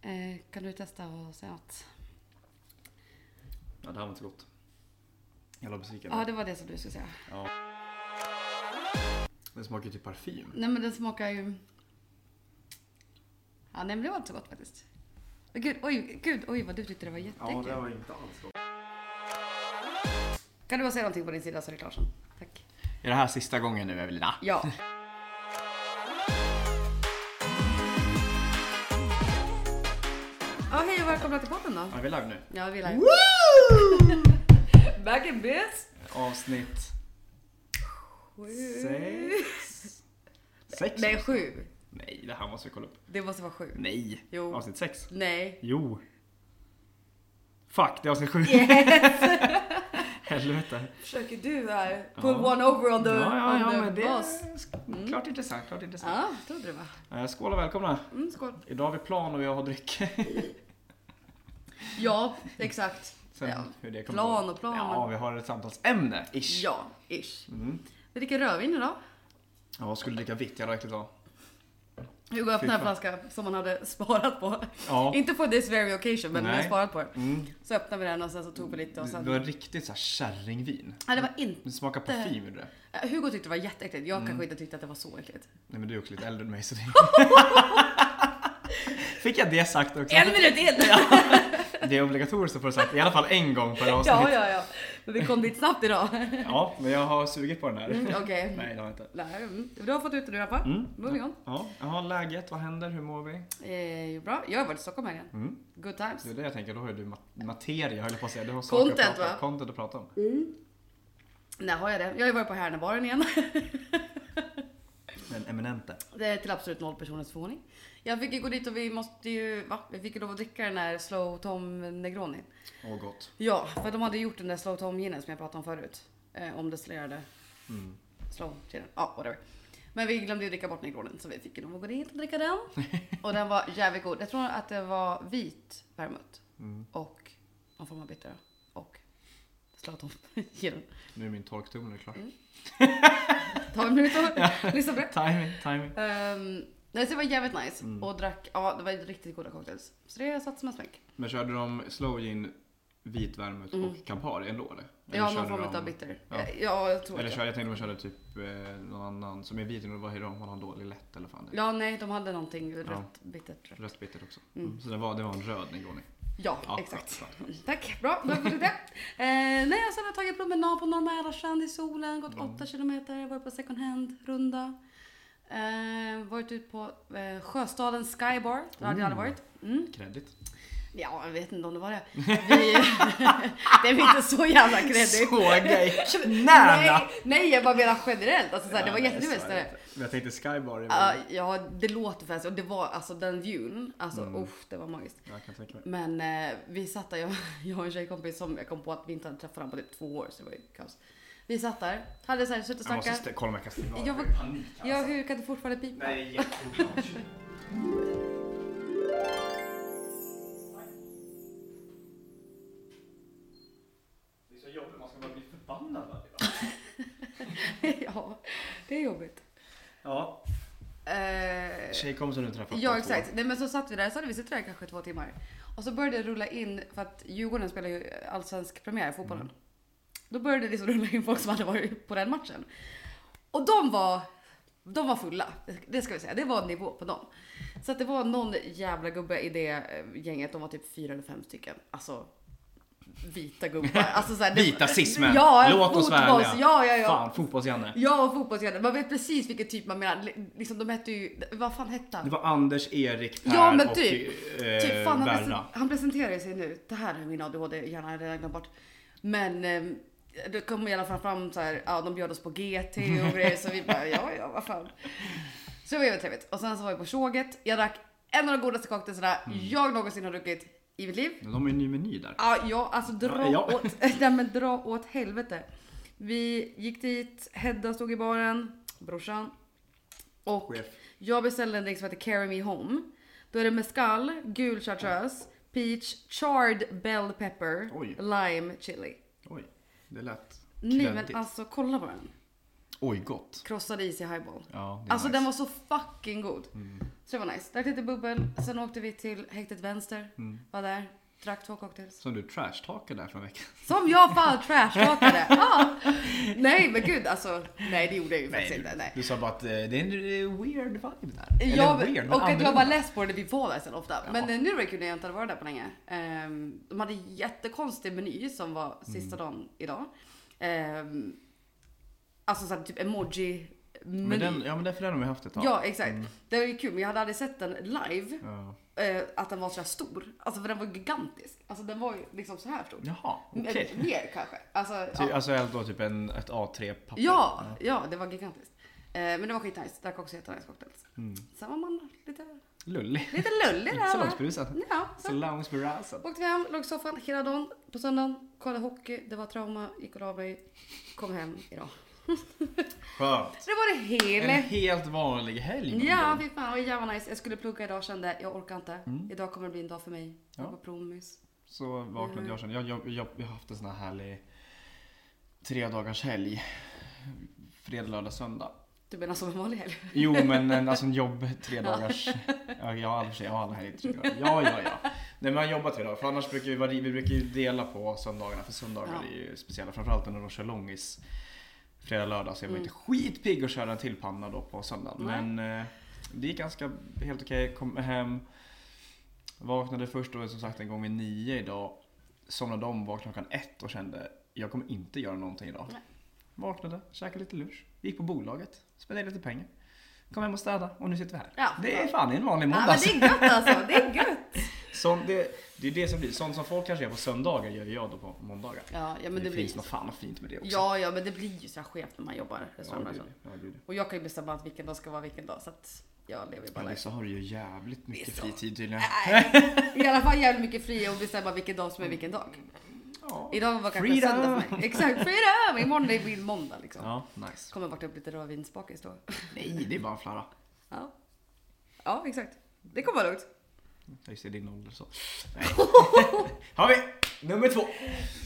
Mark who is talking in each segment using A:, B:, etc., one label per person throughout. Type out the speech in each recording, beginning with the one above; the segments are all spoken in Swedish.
A: Eh, kan du testa och säga något?
B: Ja, det här var inte så gott. Jag blev besviken.
A: Ja, det var det som du skulle säga.
B: Den smakar ju typ parfym.
A: Nej men den smakar ju... Ja, nej men det var inte så gott faktiskt. Men Gud, oj, gud, oj vad du tyckte det var
B: Ja,
A: jätteäckligt.
B: det var inte alls gott.
A: Kan du bara säga någonting på din sida så är det klart sen. Tack.
B: Är det här sista gången nu, Evelina?
A: Ja. Ja, hej och välkomna till podden då.
B: Ja, vi är live nu.
A: Ja, vi är live. Back in biz!
B: Avsnitt sex. Sex?
A: Nej, sju.
B: Nej, det här måste vi kolla upp.
A: Det måste vara sju.
B: Nej.
A: Jo.
B: Avsnitt sex.
A: Nej.
B: Jo. Fuck, det är avsnitt sju. Helvete.
A: Försöker du här
B: Ja.
A: put one over on the,
B: ja, ja, ja,
A: on the
B: men det
A: boss.
B: är sk- klart intressant. Klart intressant.
A: Ja, trodde det var.
B: Eh, Skål och välkomna.
A: Mm, skål.
B: Idag har vi plan och jag har dryck.
A: Ja, exakt.
B: Sen
A: Ja,
B: hur det kommer
A: plan
B: gå.
A: och plan.
B: Ja, vi har ett samtalsämne. Ish.
A: Ja, ish.
B: Mm.
A: Vi dricker rödvin idag.
B: Ja, jag skulle dricka vitt. Jävla äckligt va?
A: Hugo öppnade en
B: fan.
A: flaska som han hade sparat på.
B: Ja.
A: Inte på this very occasion, men han hade
B: Nej.
A: sparat på den.
B: Mm.
A: Så öppnade vi den och sen så tog vi lite och
B: Det
A: sen...
B: var riktigt så här kärringvin.
A: Nej, det var inte...
B: Det smakar
A: Det-
B: parfym gjorde det.
A: Hugo tyckte det var jätteäckligt. Jag
B: Mm.
A: kanske inte tyckte att det var så äckligt.
B: Nej men du är också lite äldre än mig så det... Fick jag det sagt också?
A: En minut in!
B: Det är obligatoriskt att få det sagt i alla fall en gång per avsnitt.
A: Ja, ja, ja. Men vi kom dit snabbt idag. Mm,
B: Ja, men jag har sugit på den här.
A: Okej.
B: Nej, det har jag inte.
A: Nej, mm. Du har fått ut det du i alla fall.
B: Mm.
A: Moving on.
B: Ja, jaha, läget, vad händer, hur mår vi?
A: Eh, jo, bra. Jag har varit i Stockholm här igen.
B: Mm.
A: Good times.
B: Det är det jag tänker, då har ju du mat- materia höll jag på att säga. Du har saker att
A: Content,
B: prata-
A: va?
B: Content att prata om.
A: Nej, Mm. har jag det? Jag har ju varit på Härnöbaren igen.
B: Den eminente.
A: Det är till absolut noll personers förvåning. Jag fick ju gå dit och vi måste ju, va? Vi fick ju lov att dricka den här Slow Tom Negroni.
B: Åh gott.
A: Ja, för de hade gjort den där Slow Tom ginen som jag pratade om förut. Eh, omdestillerade
B: Mm.
A: Slow ginen. Ja, whatever. Men vi glömde ju dricka bort Negronin så vi fick ju lov att gå dit och dricka den. Och den var jävligt god. Jag tror att det var vit vermouth
B: Mm.
A: och någon form av bitter och Slow Tom ginen.
B: Nu är min torktumlare klar.
A: Ta en minut och lyssna på det.
B: Timing, timing.
A: Ehm, nej, så det var jävligt nice
B: Mm.
A: och drack, ja det var riktigt goda cocktails. Så det satt som en smäck.
B: Men körde de slow gin, vit vermouth
A: Mm.
B: och Campari ändå eller? Eller
A: Ja, någon
B: körde
A: form
B: de-
A: av bitter.
B: Ja.
A: Ja, ja jag tror
B: Eller
A: det.
B: körde, jag tänkte de körde typ eh, någon annan som är vit, men vad heter de? Har de dålig lätt eller fan? Ja.
A: Ja, nej, de hade någonting rött, bittert. rött.
B: Rött bitter också.
A: Mm.
B: Mm. Så det var, det var en röd negroni?
A: Ja,
B: Ja,
A: exakt.
B: klart,
A: Tack, bra. Då får du det. Eh, nej, och sen har jag tagit promenad på Norra Strand i solen, gått
B: Mm.
A: 8 kilometer, varit på second hand-runda. Eh, varit ut på eh, Sjöstaden Skybar, där hade jag aldrig
B: Mm.
A: varit. Mm.
B: Kredit.
A: Ja, jag vet inte om det var det. Vi, det är väl inte så jävla kreddigt.
B: Såga i knäna!
A: Nej, nej, jag bara menar generellt. Alltså, såhär, det var
B: Nej,
A: jättetrevligt.
B: så är det
A: såhär.
B: inte. Men jag tänkte Skybar är
A: Ja,
B: väl...
A: ja, det låter fest och det var alltså den vyn. Alltså
B: Mm.
A: uff, det var magiskt.
B: Jag kan tänka mig.
A: Men eh, vi satt där, jag, jag och en tjejkompis som jag kom på att vi inte hade träffat varandra på typ två år, så det var ju kaos. Vi satt där, hade såhär suttit och
B: Jag måste
A: snackat.
B: st- kolla om jag kan skriva.
A: Jag var-
B: panik alltså.
A: Ja, hur kan du fortfarande pipa?
B: Nej, jätteoklart. Det är så jobbigt, man ska bara bli förbannad varje dag.
A: ja, det är jobbigt.
B: Ja,
A: Eh,
B: tjejkompisen du träffat.
A: ja, exakt. Nej, men så satt vi där, så hade vi suttit där i kanske två timmar. Och så började det rulla in, för att Djurgården spelar ju allsvensk premiär i fotbollen.
B: Mm.
A: Då började det liksom rulla in folk som hade varit på den matchen. Och de var, de var fulla, det ska vi säga. Det var nivå på dem. Så att det var någon jävla gubbe i det eh, gänget, de var typ fyra eller fem stycken. Alltså vita gubbar. Alltså, så här, det-
B: Vita cismen.
A: Ja,
B: Låt oss vara
A: fotbolls-
B: ärliga.
A: Ja, ja, ja.
B: Fan, fotbolls-Janne.
A: Ja, och fotbollsgubbar. Man vet precis vilken typ man menar. Liksom, de hette ju, vad fan hette han?
B: Det var Anders, Erik, Per
A: Ja, men
B: och
A: typ.
B: eh,
A: Typ, fan, han, presen-
B: Berra.
A: han presenterar ju sig nu. Det här är min ADHD, hjärna har redan glömt bort. Men eh, det kom i alla fall fram så här, ja de bjöd oss på GT och grejer så vi bara, ja ja vad fan. Så det var jävligt trevligt. Och sen så var vi på tjoget. Jag drack en av de godaste cocktailsarna
B: Mm.
A: jag någonsin har druckit i mitt liv.
B: Men De har ju en ny meny där.
A: Ja, ja alltså dra,
B: Ja, ja.
A: Åt, nej, men dra åt helvete. Vi gick dit, Hedda stod i baren, brorsan. Och
B: Chef.
A: jag beställde en drink som heter Carry Me Home. Då är det mezcal, gul chartreuse, peach, charred bell pepper,
B: Oj.
A: lime chili.
B: Oj, det lät
A: Nej men
B: kreddigt.
A: alltså kolla på den.
B: Oj, gott.
A: Krossade is i highball.
B: Ja, det är
A: Alltså
B: nice.
A: den var så fucking god.
B: Mm.
A: Så det var nice. Drack lite bubbel, sen åkte vi till häktet vänster.
B: Mm.
A: Var där, drack två cocktails.
B: Som du trashtalkade där för en vecka.
A: Som jag fan trashtalkade! Ja. Nej men gud alltså. Nej det gjorde jag ju faktiskt
B: du-
A: inte. Nej.
B: Du sa bara att eh, det är en eh, weird vibe där.
A: Jag,
B: Eller weird, men
A: och att jag
B: annorlunda.
A: var less på det vid Vålväsen ofta.
B: Ja.
A: Men eh, Nurek kunde jag inte ha varit där på länge. Ehm, de hade jättekonstig meny som
B: Mm.
A: var sista dagen idag. Ehm, alltså såhär typ emoji
B: Men
A: meny.
B: den, Mm. ja men därför har vi haft ett tag.
A: Ja exakt. Det var ju kul men jag hade aldrig sett den live.
B: Ja.
A: Eh, att den var så här stor. Alltså för den var gigantisk. Alltså den var ju liksom så här stor.
B: Jaha, okej.
A: Eh, Mer kanske. Alltså,
B: Ty,
A: ja.
B: alltså helt då typ en, ett A3-papper?
A: Ja, ja, det var gigantiskt. Eh, men det var skitnice. Drack också jättenice cocktails. Sen var man lite,
B: Mm. Lullig.
A: lite lullig där. va?
B: Salongsberusad.
A: Ja, så
B: Salongsberusad.
A: Åkte vi hem, låg i soffan hela dagen på söndagen, kollade hockey, det var trauma, gick och la mig, kom hem idag.
B: Skönt.
A: Så det var det
B: En
A: hela.
B: helt vanlig helg. med
A: Ja,
B: andra
A: fy fan vad jävla nice. Jag skulle plugga idag kände jag orkar inte.
B: Mm.
A: Idag kommer det bli en dag för mig. Jag
B: Ja.
A: var på promis.
B: ord. Så vaknade jag sen. Jag, jag, jag, jag har haft en sån här härlig tre dagars helg. Fredag, lördag, söndag.
A: Du menar som en vanlig helg?
B: Jo men en, alltså en jobb tre dagars. Ja, jag har i och för sig, jag har aldrig helg tre dagar. Ja, ja, ja. Nej men jag jobbar tre dagar. För annars brukar vi, vara- vi brukar ju dela på söndagarna. För söndagar
A: Ja.
B: är ju speciella. Framförallt när de kör långis. Fredag, lördag. Så jag var inte skitpigg att köra en till panna då på söndagen.
A: Mm. Nej.
B: Men eh, det gick ganska helt okej. Kom hem. Vaknade först då som sagt en gång vid nio idag. Somnade om, vaknade klockan ett och kände jag kommer inte göra någonting idag.
A: Nej.
B: Vaknade, käkade lite lunch, gick på bolaget, spenderade lite pengar. Kom hem och städade och nu sitter vi här.
A: Ja.
B: det är fan en vanlig
A: Ja,
B: måndag.
A: men det är gött alltså, det är gött.
B: Sånt, det, det är det som blir. Sånt som folk kanske gör på söndagar gör jag då på måndagar.
A: Ja, ja men
B: det,
A: det,
B: finns
A: blir
B: något fan fint med det också.
A: Ja, ja men det blir ju så här skevt när man jobbar
B: ja, det, är
A: restaurangbranschen.
B: det. ja, det, är det.
A: Och jag kan ju bestämma att vilken dag ska vara vilken dag så att jag lever ju bara
B: Men
A: life.
B: Lisa har ju jävligt mycket
A: så. Äh.
B: fritid tydligen.
A: Nej, I alla fall jävligt mycket fri att bestämma vilken dag som är vilken dag.
B: Ja.
A: Idag var kanske
B: Freedom!
A: söndag för mig. Exakt, freedom! Imorgon är min måndag liksom.
B: ja, nice.
A: Kommer vakna upp lite rödvinsbakis då.
B: Nej, det är bara en flarra.
A: Ja. ja, exakt. Det kommer vara lugnt.
B: Ja, Just det, din ålder så. Nej. har vi nummer två.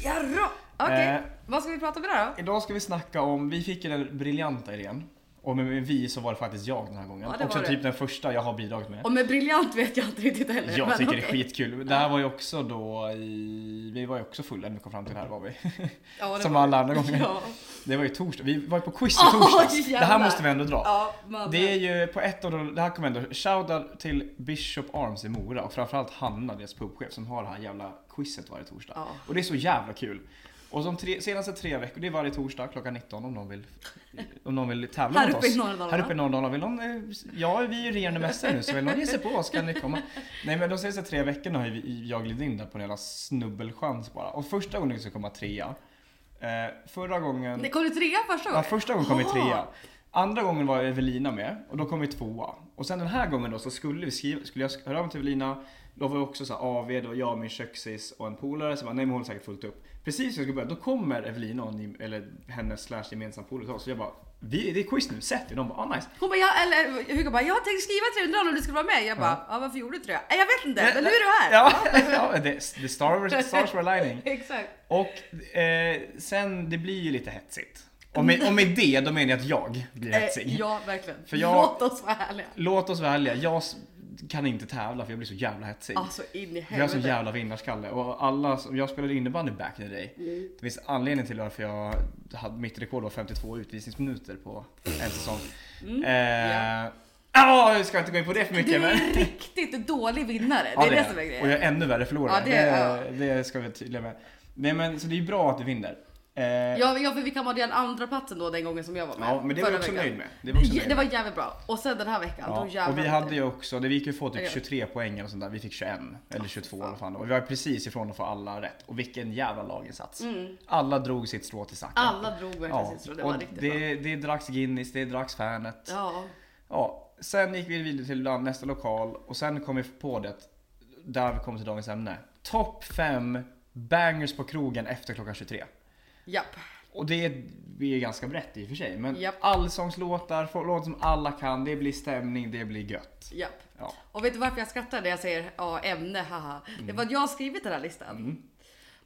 A: Jarrå! Okej,
B: Eh.
A: vad ska vi prata om idag då?
B: Idag ska vi snacka om, vi fick ju den briljanta idén. Och med med vi så var det faktiskt jag den här gången.
A: Ja, det
B: Också
A: var det.
B: typ den första jag har bidragit med.
A: Och med briljant vet jag inte riktigt heller.
B: Jag
A: men
B: tycker det är
A: okej.
B: skitkul. Det här var ju också då i... Vi var ju också fulla när vi kom fram till det här var vi.
A: Ja, det
B: Som
A: var-
B: alla andra gånger.
A: Ja,
B: Det var ju torsdag. Vi var ju på quiz i
A: Åh,
B: torsdags. det
A: jävlar.
B: här måste vi ändå dra.
A: ja man,
B: Det är ju på ett av de... Det här kommer ändå... Shoutout till Bishop Arms i Mora och framförallt Hanna, deras pubchef, som har det här jävla quizet varje torsdag.
A: Ja.
B: Och det är så jävla kul. Och de tre, senaste tre veckor, det är varje torsdag klockan 19 om någon vill, om någon vill tävla
A: Här
B: mot
A: uppe
B: oss.
A: i Norrland.
B: Här uppe i Norrdalarna, vill någon, eh, ja vi är ju Renemästare nu så vill någon ge sig på oss kan ni komma. Nej men de senaste tre veckorna har ju vi- jag glidit in där på en jävla snubbelchans bara. Och första gången så kom jag trea. Eh, förra gången,
A: Det kom du trea första
B: ja
A: gången?
B: första gången kom jag
A: Jaha.
B: trea. Andra gången var Evelina med och då kom vi tvåa. Och sen den här gången då så skulle vi skriva, skulle jag sk- höra av mig till Evelina. Då var vi också så här AV, det var jag, min köksis och en polare. Så jag bara, nej men hon har säkert fullt upp. Precis när jag skulle börja, då kommer Evelina och ni, eller hennes slash gemensam polare till oss. Så jag bara, vi, det är quiz nu, sätt er. De bara, ah nice.
A: Hon bara, ja, eller Hugo bara, jag tänkte skriva 300 om du skulle vara med. Jag bara, ja, varför gjorde du inte det? Nej, Jag vet inte, men nu är du här.
B: Ja, ja the, the star, stars were aligning.
A: Exakt.
B: Och eh, sen, det blir ju lite hetsigt. Och med, och med det, då menar jag att jag blir hetsig.
A: Eh, ja, verkligen.
B: För jag-
A: Låt oss vara ärliga.
B: Låt oss vara ärliga, jag s- kan inte tävla för jag blir så jävla hetsig.
A: Alltså in i
B: jag har så
A: helvete.
B: jävla vinnarskalle. Och alla, som- jag spelade innebandy back in the day.
A: Mm.
B: Det finns anledning till varför jag hade, mitt rekord var 52 utvisningsminuter på en säsong.
A: Mm,
B: eh, ah, jag ska inte gå in på det för
A: Du
B: mycket
A: är
B: men.
A: en riktigt dålig vinnare.
B: Ja,
A: det är det som
B: jag.
A: är grejen.
B: Och jag är ännu värre förlorare.
A: Ja, det är-
B: det, det ska vi vara tydliga med. Nej men så det är ju bra att du vinner. Eh, ja,
A: Ja, ja för vi kammade den andra platsen då den gången som jag var med.
B: men det
A: förra
B: var jag också
A: veckan.
B: nöjd med. Det var också
A: Ja,
B: nöjd
A: Det
B: med.
A: var jävligt bra. Och sen den här veckan, då
B: Ja, och
A: jävlar.
B: vi hade ju också, det vi gick ju få
A: Ja,
B: typ
A: ja.
B: 23 poäng eller sånt där. Vi fick 21 eller
A: fy
B: 22
A: fan.
B: eller vad fan det var. Vi var precis ifrån att få alla rätt. Och vilken jävla laginsats.
A: Mm.
B: Alla drog sitt strå till stacken.
A: Alla drog verkligen
B: Ja,
A: sitt strå. Det
B: och
A: var riktigt bra.
B: det, det dracks Guinness, det dracks Fanet. Ja.
A: Ja.
B: Sen gick vi vidare till nästa lokal och sen kom vi på det, där vi kom till dagens ämne. Topp 5 bangers på krogen efter klockan 23.
A: Japp.
B: Och det är, vi är ganska brett i och för sig. Men
A: Japp.
B: allsångslåtar, få- låtar som alla kan, det blir stämning, det blir gött.
A: Japp.
B: Ja. Mm.
A: Och vet du varför jag skrattar när jag säger ja, ämne, haha? Det var att jag har skrivit den här listan.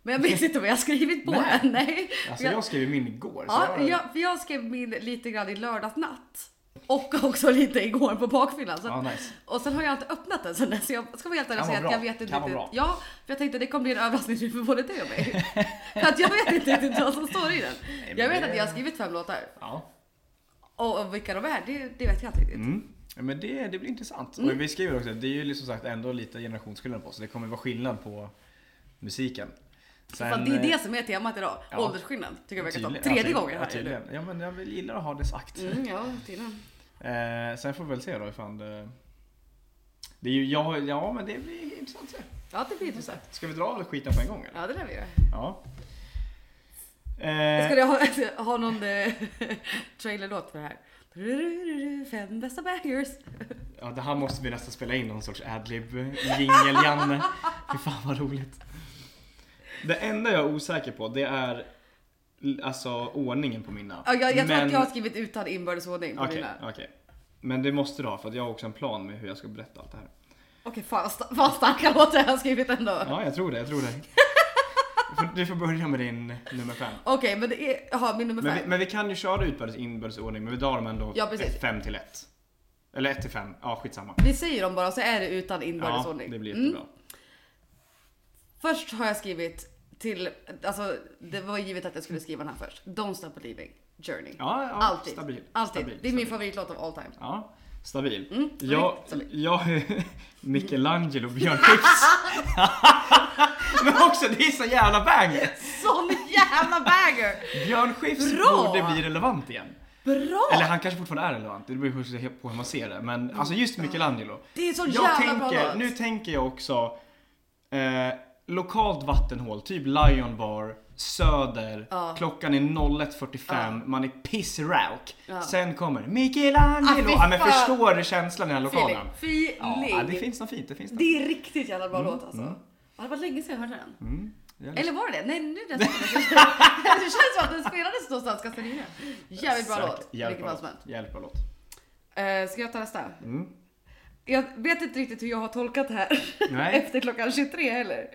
A: Men jag minns inte vad jag skrivit på
B: Nej.
A: den. Nej.
B: Alltså
A: Jag-
B: jag skrev ju min igår. så
A: Ja,
B: jag-
A: jag, för jag skrev min lite grann i lördags natt. Och också lite igår på bakfyllan. Så att-
B: Ja, nice.
A: Och sen har jag inte öppnat den sen dess. så Jag ska vara helt ärlig och
B: Kan
A: säga
B: vara
A: att jag
B: bra.
A: vet inte
B: Kan vara
A: riktigt.
B: bra.
A: Ja, för jag tänkte det kommer bli en överraskning för både dig och mig. för att jag vet inte riktigt vad som står i den.
B: men
A: Jag vet
B: det-
A: att jag har skrivit fem låtar.
B: Ja.
A: Och, och vilka de är, det, det vet jag inte riktigt.
B: Mm. Ja, Men det, det blir intressant.
A: Mm.
B: Och vi skriver också att det är ju liksom sagt ändå lite generationsskillnad på oss. så Det kommer vara skillnad på musiken. Sen, eh,
A: Fan, det är det som är temat idag.
B: ja.
A: Åldersskillnad. Tycker jag verkar som.
B: tydligen-
A: Tredje
B: ja,
A: gången
B: ja,
A: här nu.
B: tydligen. Ja men jag vill- gillar att ha det sagt.
A: Mm, ja, tydligen. Mm.
B: Eh, sen får vi väl se då ifall det... det är ju, ja, ja men det blir intressant att se.
A: Ja, det blir intressant.
B: Ska vi dra all skiten på en gång eller?
A: Ja, det lär vi göra.
B: Ja. Eh,
A: Ska du ha, ha någon eh, trailerlåt för det här? Fem bästa bangers.
B: ja, det här måste vi nästan spela in någon sorts adlib jingel janne Fy fan vad roligt. Det enda jag är osäker på det är l- alltså ordningen på mina.
A: Ja, jag, jag tror
B: Men-
A: att jag har skrivit utan inbördes ordning på
B: Okej,
A: mina.
B: okej. Men det måste du ha för att jag har också en plan med hur jag ska berätta allt det här.
A: Okej, fan, vad sta- fan starka låtar jag har skrivit ändå.
B: Ja, jag tror det, jag tror det. Får- Du får börja med din nummer fem.
A: Okej, men det är... Jaha, min nummer
B: Men
A: fem.
B: vi, men vi kan ju köra utbördes inbördes ordning, men vi drar dem ändå
A: Ja, precis.
B: 5 till 1. Eller 1 till 5, ja skitsamma.
A: Vi säger dem bara så är det utan inbördes
B: Ja,
A: ordning.
B: det blir
A: Mm.
B: jättebra.
A: Först har jag skrivit till... Alltså, det var givet att jag skulle skriva den här först. Don't stop believing. Journey.
B: Ja, ja
A: Alltid.
B: stabil.
A: Alltid.
B: Stabil,
A: det är min
B: stabil.
A: favoritlåt av all time.
B: Ja, stabil.
A: Mm,
B: jag,
A: stabil.
B: jag är Michelangelo Björnskifs. men också, det är så jävla banger!
A: Sån jävla banger!
B: Björn Skifs
A: Bra!
B: borde bli relevant igen.
A: Bra!
B: Eller han kanske fortfarande är relevant, det beror ju på hur man ser det. Men alltså just Michelangelo.
A: det är så
B: Jag
A: jävla bra
B: tänker,
A: låt.
B: nu tänker jag också eh, lokalt vattenhål, typ Lion Bar, Söder,
A: Ja.
B: klockan är 01.45, man är pissrauk.
A: Ja.
B: Sen kommer
A: Ah,
B: Michelangelo!
A: fy
B: Ja, men
A: fan.
B: förstår du känslan i den här
A: Feeling.
B: lokalen?
A: Feeling.
B: Ja, det finns något fint, Mm, det finns något.
A: Det är riktigt jävla bra låt alltså. Ja, det var länge sedan jag hörde den.
B: Mm. Jag-
A: Eller var det det? Nej, nu när jag tänker på det Det känns som att den spelades någonstans ganska nyligen. Jävligt bra
B: Säkert.
A: låt. Vilket
B: Jävligt bra
A: fall som
B: låt.
A: helst.
B: Jävligt bra låt.
A: Eh, Ska jag ta nästa?
B: Mm.
A: Jag vet inte riktigt hur jag har tolkat det här
B: Nej.
A: efter klockan 23 heller.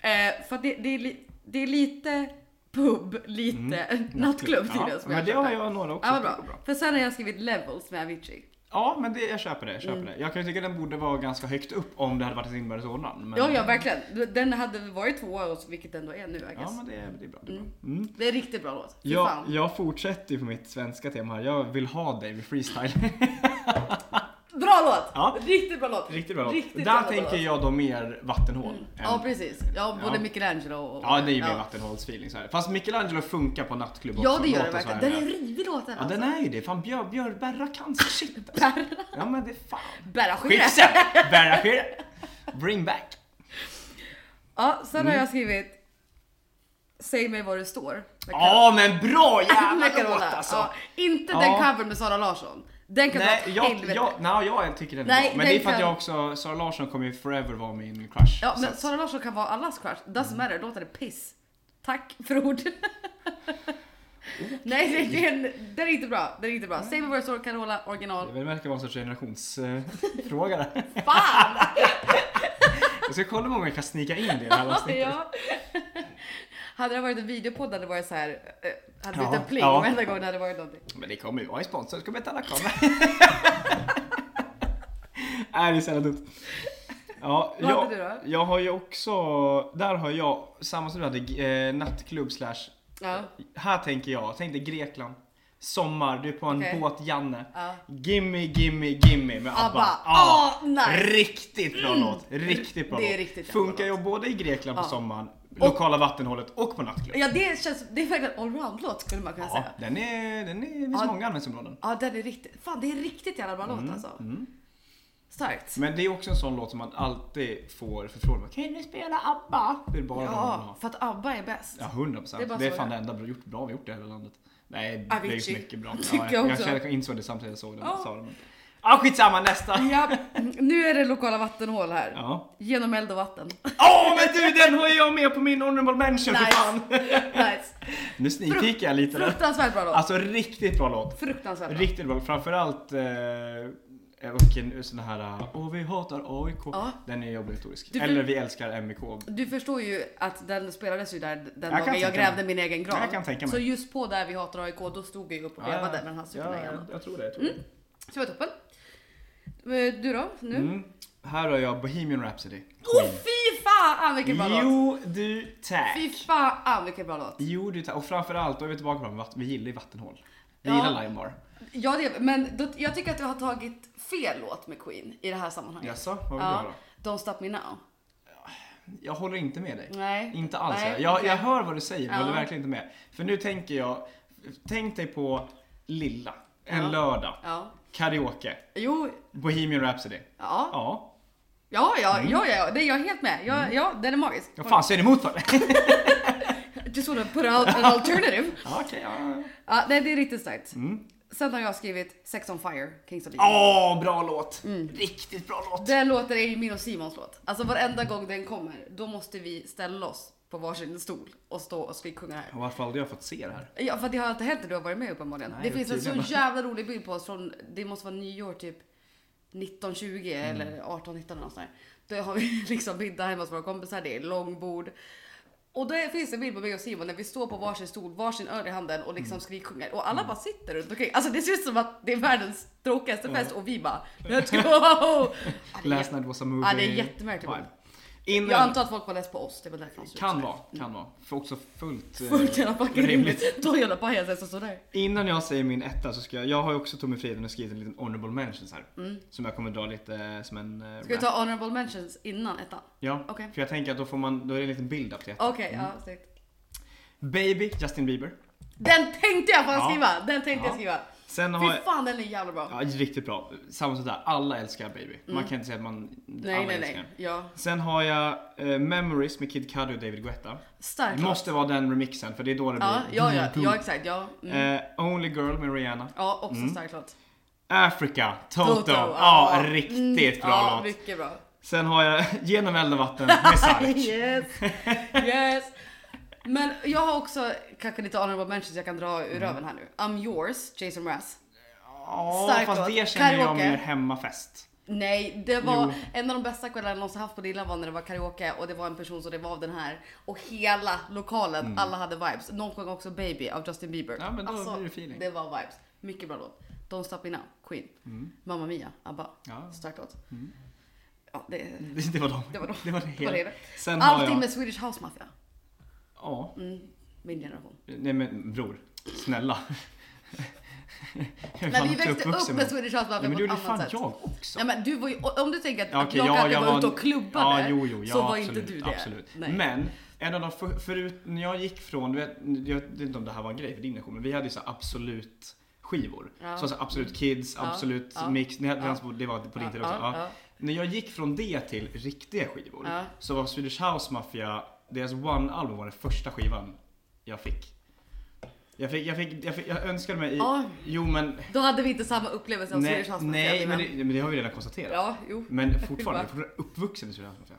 A: Eh, För att det, det, är li, det är lite pub, lite nattklubb tydligen.
B: Mm. ja,
A: som
B: Men det
A: köper.
B: har jag några också.
A: Ja, vad
B: Det går
A: bra. För sen har jag skrivit Levels med Avicii.
B: Ja, men det, jag köper det. Jag,
A: Mm.
B: köper det. jag kan ju tycka den borde vara ganska högt upp om det hade varit en inbördes ordning. men-
A: Ja, ja, verkligen. Den hade varit tvåa, och så- vilket den då är nu, I guess.
B: Ja, men det, är- det är bra. Det är bra. Mm.
A: Det är riktigt bra låt. Fy
B: Jag,
A: fan.
B: jag fortsätter ju på mitt svenska tema här. Jag vill ha dig med freestyle.
A: Bra låt!
B: Ja.
A: Riktigt bra låt.
B: Riktigt bra låt.
A: Riktigt
B: Där
A: bra låt.
B: tänker jag då mer vattenhål. än-
A: Ja precis, ja både
B: Ja.
A: Michelangelo och...
B: ja, det är ju mer vattenhålsfeeling så här. Fast Michelangelo funkar på nattklubb
A: Ja
B: också.
A: det gör det
B: Låten så
A: verkligen.
B: här
A: Den är
B: är-
A: rivig låten
B: Ja, den är ju det. Fan, Björ, Björ, Berra cancer shit alltså. Ja, men det är fan.
A: Bära skit.
B: Skifsen! Berra skit. Bring back.
A: Ja, sen
B: Mm.
A: har jag skrivit Säg mig var du står. Med
B: Ja, men bra
A: Med
B: jävla låt
A: Carola.
B: alltså.
A: Ja, inte
B: Ja.
A: den covern med Sara Larsson. Den kan
B: Nej,
A: dra åt
B: jag,
A: helvete.
B: jag, nej, jag tycker den är
A: Nej,
B: bra. Men
A: den
B: det är för att
A: kan-
B: jag också, Sara Larsson kommer ju forever vara min crush.
A: Ja
B: Så
A: men
B: att- Mm.
A: Sara Larsson kan vara allas crush. Doesn't matter, låten är piss. Tack för ord. Nej, det- det är en- den är inte bra. Den är inte bra. Säg mig var du står, Carola, original.
B: Det verkar vara en sorts generationsfråga där.
A: Fan!
B: Jag ska kolla hur många jag kan snika in det i det här avsnittet.
A: ja. Hade det varit en videopodd hade det varit så här. eh, Hade det blivit
B: Ja,
A: en pling
B: ja.
A: varenda gång det hade varit någonting.
B: Men det kommer ju vara i sponsor, ska betala kommer. Nej, det är så jävla dumt. Ja,
A: Vad
B: jag,
A: hade du då?
B: jag har ju också, där har jag, samma som du hade, eh, nattklubb slash,
A: Ja.
B: här tänker jag, tänk dig Grekland. Sommar, du är på en
A: Okej.
B: båt, Janne.
A: Ja.
B: Gimme, gimme, gimme med ABBA.
A: Abba.
B: Ja.
A: Åh, nice. Mm.
B: Riktigt bra låt. Riktigt bra
A: Det är
B: låt.
A: riktigt jävla
B: Funkar ju både i Grekland på
A: Ja.
B: sommaren, lokala vattenhålet och på nattklubb.
A: ja det känns, det är verkligen en allround-låt skulle man kunna
B: Ja,
A: säga.
B: den är, den är, det finns
A: Ja.
B: många användningsområden.
A: Ja den är riktigt, fan det är riktigt jävla bra låt alltså. Starkt.
B: Mm, Men det är också en sån låt som man alltid får förfrågan Kan ni spela ABBA? Det är bara ja. man
A: Ja,
B: har.
A: för att ABBA är bäst.
B: Ja, 100 procent.
A: Det är
B: Det
A: bara
B: är,
A: så
B: fan
A: det
B: det enda bra, gjort, bra vi gjort i hela landet. Nej, det är
A: Avicii.
B: så mycket bra.
A: Tycker
B: Ja, jag
A: jag också.
B: jag kände- insåg det samtidigt jag såg den.
A: Ja.
B: Ja. Ah, skitsamma, nästa!
A: Ja, nu är det lokala vattenhål här.
B: Ja.
A: Genom eld och vatten.
B: Åh, men du den har jag med på min honorable mention för
A: Nice.
B: fan!
A: nice.
B: Nu sneakkickar jag lite där.
A: Fruktansvärt bra låt.
B: Alltså riktigt bra låt.
A: Fruktansvärt bra.
B: Riktigt bra. Framförallt eh, eh, och en sån här eh, Åh vi hatar AIK.
A: Ja.
B: Den är obligatorisk.
A: Du-
B: Eller vi älskar MIK.
A: Du förstår ju att den spelades ju där den dagen
B: kan
A: jag
B: tänka
A: grävde
B: mig.
A: min egen grav.
B: Jag kan tänka mig.
A: Så just på där vi hatar AIK, då stod jag ju upp och vevade med den här Mm,
B: ja, jag,
A: superlejan.
B: jag tror det. Jag tror det.
A: Så det var toppen. Eh, Du då? Nu?
B: Mm. Här har jag Bohemian Rhapsody.
A: Oh fy fan vilken bra låt!
B: Jo du tack.
A: Fy fan vilken bra låt!
B: Jo du tack. Och framförallt, då är vi tillbaka på vatten. Vi gillar ju vattenhål. Vi
A: Ja.
B: gillar Limebar.
A: Ja, det, men då, jag tycker att du har tagit fel låt med Queen i det här sammanhanget.
B: Jaså, vad vill du
A: Ja.
B: höra?
A: Don't stop me now.
B: Jag håller inte med dig.
A: Nej.
B: Inte alls.
A: Nej,
B: jag,
A: okej.
B: jag hör vad du säger, men jag håller
A: Ja.
B: verkligen inte med. För nu tänker jag, tänk dig på Lilla, en
A: Ja.
B: lördag,
A: Ja.
B: karaoke,
A: Jo.
B: Bohemian Rhapsody.
A: Ja.
B: Ja.
A: Ja, ja,
B: Mm.
A: ja, ja. Det är jag helt med. Jag, Ja, den är magisk.
B: Vad fan säger ni emot för?
A: Just wanna put out an alternative.
B: ja, okej, ja.
A: Ja, nej, det är riktigt starkt.
B: Mm.
A: Sen har jag skrivit Sex on Fire, Kings of Leon.
B: Åh, bra låt!
A: Mm.
B: Riktigt bra låt!
A: Den låten är ju min och Simons låt. Alltså varenda gång den kommer, då måste vi ställa oss på varsin stol och stå och skriksjunga här.
B: Och Varför har aldrig jag fått se det här?
A: Ja, för det har inte hänt när du har varit med uppenbarligen.
B: Nej,
A: det finns en så
B: tydligen.
A: jävla rolig bild på oss från, det måste vara nyår typ 1920
B: Mm.
A: eller 1819 eller något sånt där. Då har vi liksom middag hemma hos våra kompisar, det är långbord. Och där finns en bild på mig och Simon när vi står på varsin stol, varsin öl i handen och
B: Mm.
A: liksom skriksjunger. Och alla bara sitter runt omkring. Alltså det ser ut som att det är världens tråkigaste fest och vi bara Let's go! Ja, det är
B: Last night was a movie.
A: Ja, det är jättemärkligt.
B: Vibe.
A: jätte-
B: Innan,
A: Jag antar att folk var less på oss, det är väl därför de ser ut
B: kan
A: sådär.
B: vara, kan vara. För också fullt, eh,
A: Fullt jävla fucking
B: rimligt.
A: rimligt. Då jävla pajasar som står där.
B: Innan jag säger min etta så ska jag, jag har ju också tagit mig friheten och skrivit en liten honorable mentions här. Som jag kommer dra lite eh, som en eh,
A: Mm. Ska vi
B: rap.
A: ta honorable mentions innan ettan?
B: Ja,
A: Okej.
B: för jag tänker att då får man, då är det en liten bild up till ettan.
A: Okej,
B: Mm.
A: ja snyggt. Oh.
B: Baby, Justin Bieber.
A: Den tänkte jag fan
B: Ja.
A: skriva! Den tänkte
B: Ja.
A: jag skriva.
B: Sen har
A: Fy
B: jag,
A: fan den är jävla bra.
B: ja riktigt bra. Samma sak där, alla älskar Baby. Man kan inte säga att man,
A: nej
B: alla
A: nej
B: älskar
A: nej.
B: den.
A: Ja.
B: Sen har jag eh, Memories med Kid Cudi och David Guetta.
A: Stark
B: Det måste vara den remixen för det är då det blir...
A: Ja, ja, ja, ja exakt. Ja, mm.
B: Eh, Only Girl med Rihanna.
A: ja också stark låt.
B: Africa, Toto. Ja, riktigt
A: Mm,
B: bra
A: ja,
B: låt.
A: Mycket bra.
B: Sen har jag Genom eld och vatten med Sark.
A: yes! Yes! Men jag har också kanske lite honorable mentions jag kan dra ur röven här nu. I'm yours, Jason Mraz.
B: Ja,
A: Stark
B: fast
A: låt.
B: det känner jag
A: Karaoke.
B: mer hemmafest.
A: Nej, det var
B: Jo.
A: en av de bästa kvällarna jag någonsin haft på Lilla var när det var karaoke och det var en person som det var av den här och hela lokalen,
B: Mm.
A: alla hade vibes. Någon sjöng också Baby av Justin Bieber. Alltså,
B: Ja, men då blir det feeling.
A: det var vibes. Mycket bra låt. Don't Stop Me Now, Queen. Mamma Mia, ABBA.
B: Mm. Ja. Mm.
A: Stark låt. Ja, det,
B: Det det var dem.
A: det var dem.
B: Det var det
A: det var
B: hela.
A: det.
B: Sen har
A: Allting
B: jag...
A: med Swedish House Mafia.
B: Ja.
A: Mm, min generation.
B: Nej men bror, snälla. Jag är
A: Men
B: fan
A: vi
B: också
A: växte upp
B: uppvuxen
A: med Swedish House
B: Ja,
A: Mafia
B: men
A: på
B: det
A: ett
B: gjorde
A: annat
B: fan
A: sätt.
B: jag också.
A: Ja, men du var ju, om du tänker att
B: Ja, okej,
A: jag
B: ja,
A: kanske
B: jag
A: var,
B: var-
A: ute och klubbade
B: ja, jo, jo, ja,
A: så var
B: absolut,
A: inte du det.
B: Absolut.
A: Nej.
B: Men en av de för, förut när jag gick från, du vet, jag vet inte om det här var en grej för din nation, men vi hade ju så här absolut skivor.
A: Ja.
B: Så, så här Absolut Kids,
A: Ja,
B: Absolut
A: ja,
B: Mix, ni hade,
A: ja.
B: det var på din tid också.
A: Ja,
B: Ja.
A: ja.
B: När jag gick från det till riktiga skivor
A: Ja.
B: så var Swedish House Mafia, deras One-album var den första skivan jag fick. Jag, fick, jag, fick, jag, fick, jag önskade mig i,
A: Ja.
B: jo men
A: Då hade vi inte samma upplevelse av
B: Nej,
A: Swedish House Mafia,
B: nej
A: vi
B: men,
A: med.
B: det, men det har vi redan konstaterat.
A: Ja, jo.
B: Men fortfarande, jag är fortfarande uppvuxen i Swedish House Mafia.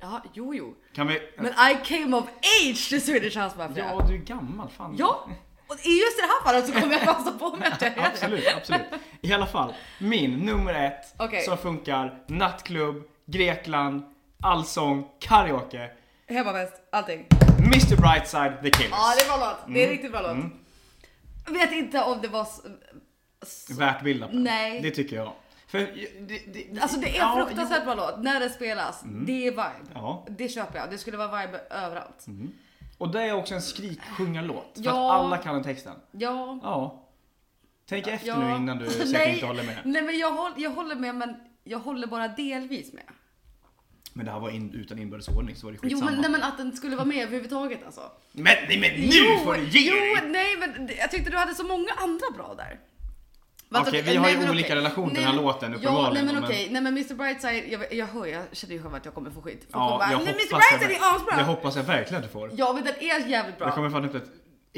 A: Ja, jo, jo.
B: Kan vi...
A: Men I came of age till Swedish House Mafia.
B: Ja, du är gammal. Fan.
A: ja. Och i just det här fallet så kommer jag passa på mig att jag är det.
B: Absolut, absolut. I alla fall, min nummer ett
A: Okej.
B: som funkar, nattklubb, Grekland, allsång, karaoke,
A: Hemmafest, allting.
B: Mr Brightside, The Killers.
A: Ja, det är bra låt. Det är riktigt bra låt.
B: Mm.
A: Vet inte om det var... s- s-
B: Värt build-upen.
A: Nej.
B: Det tycker jag. För, det, det,
A: Alltså det är
B: ja, Mm.
A: fruktansvärt bra låt när det spelas. Det är vibe.
B: Ja. Mm.
A: Det köper jag. Det skulle vara vibe överallt.
B: Och det är också en skriksjungarlåt. För
A: Ja.
B: att alla kan texten.
A: Ja.
B: Ja. Tänk efter
A: ja.
B: nu innan du säger att du
A: Nej.
B: inte håller med.
A: Nej men jag, håll, jag håller med men jag håller bara delvis med.
B: Men det här var in, utan inbördes ordning så var det
A: Jo
B: skitsamma.
A: men, nej, men att den skulle vara med överhuvudtaget alltså.
B: men, nej, men nu
A: jo,
B: får du ge dig!
A: Jo, nej men det- jag tyckte du hade så många andra bra där.
B: Okej, vi har
A: nej,
B: ju
A: men
B: olika
A: okej.
B: relation till
A: Nej,
B: den här
A: men-
B: låten,
A: Ja, nej
B: uppenbarligen,
A: men
B: men-
A: okej, nej men Mr Brightside, jag, jag hör, jag känner ju själv att jag kommer få skit. Folk
B: Ja,
A: kommer bara,
B: jag
A: nej Mr
B: hoppas jag
A: Brightside
B: ver-
A: är asbra!
B: Jag hoppas jag verkligen att du får.
A: Ja men den är jävligt bra.
B: Jag kommer fan upp ett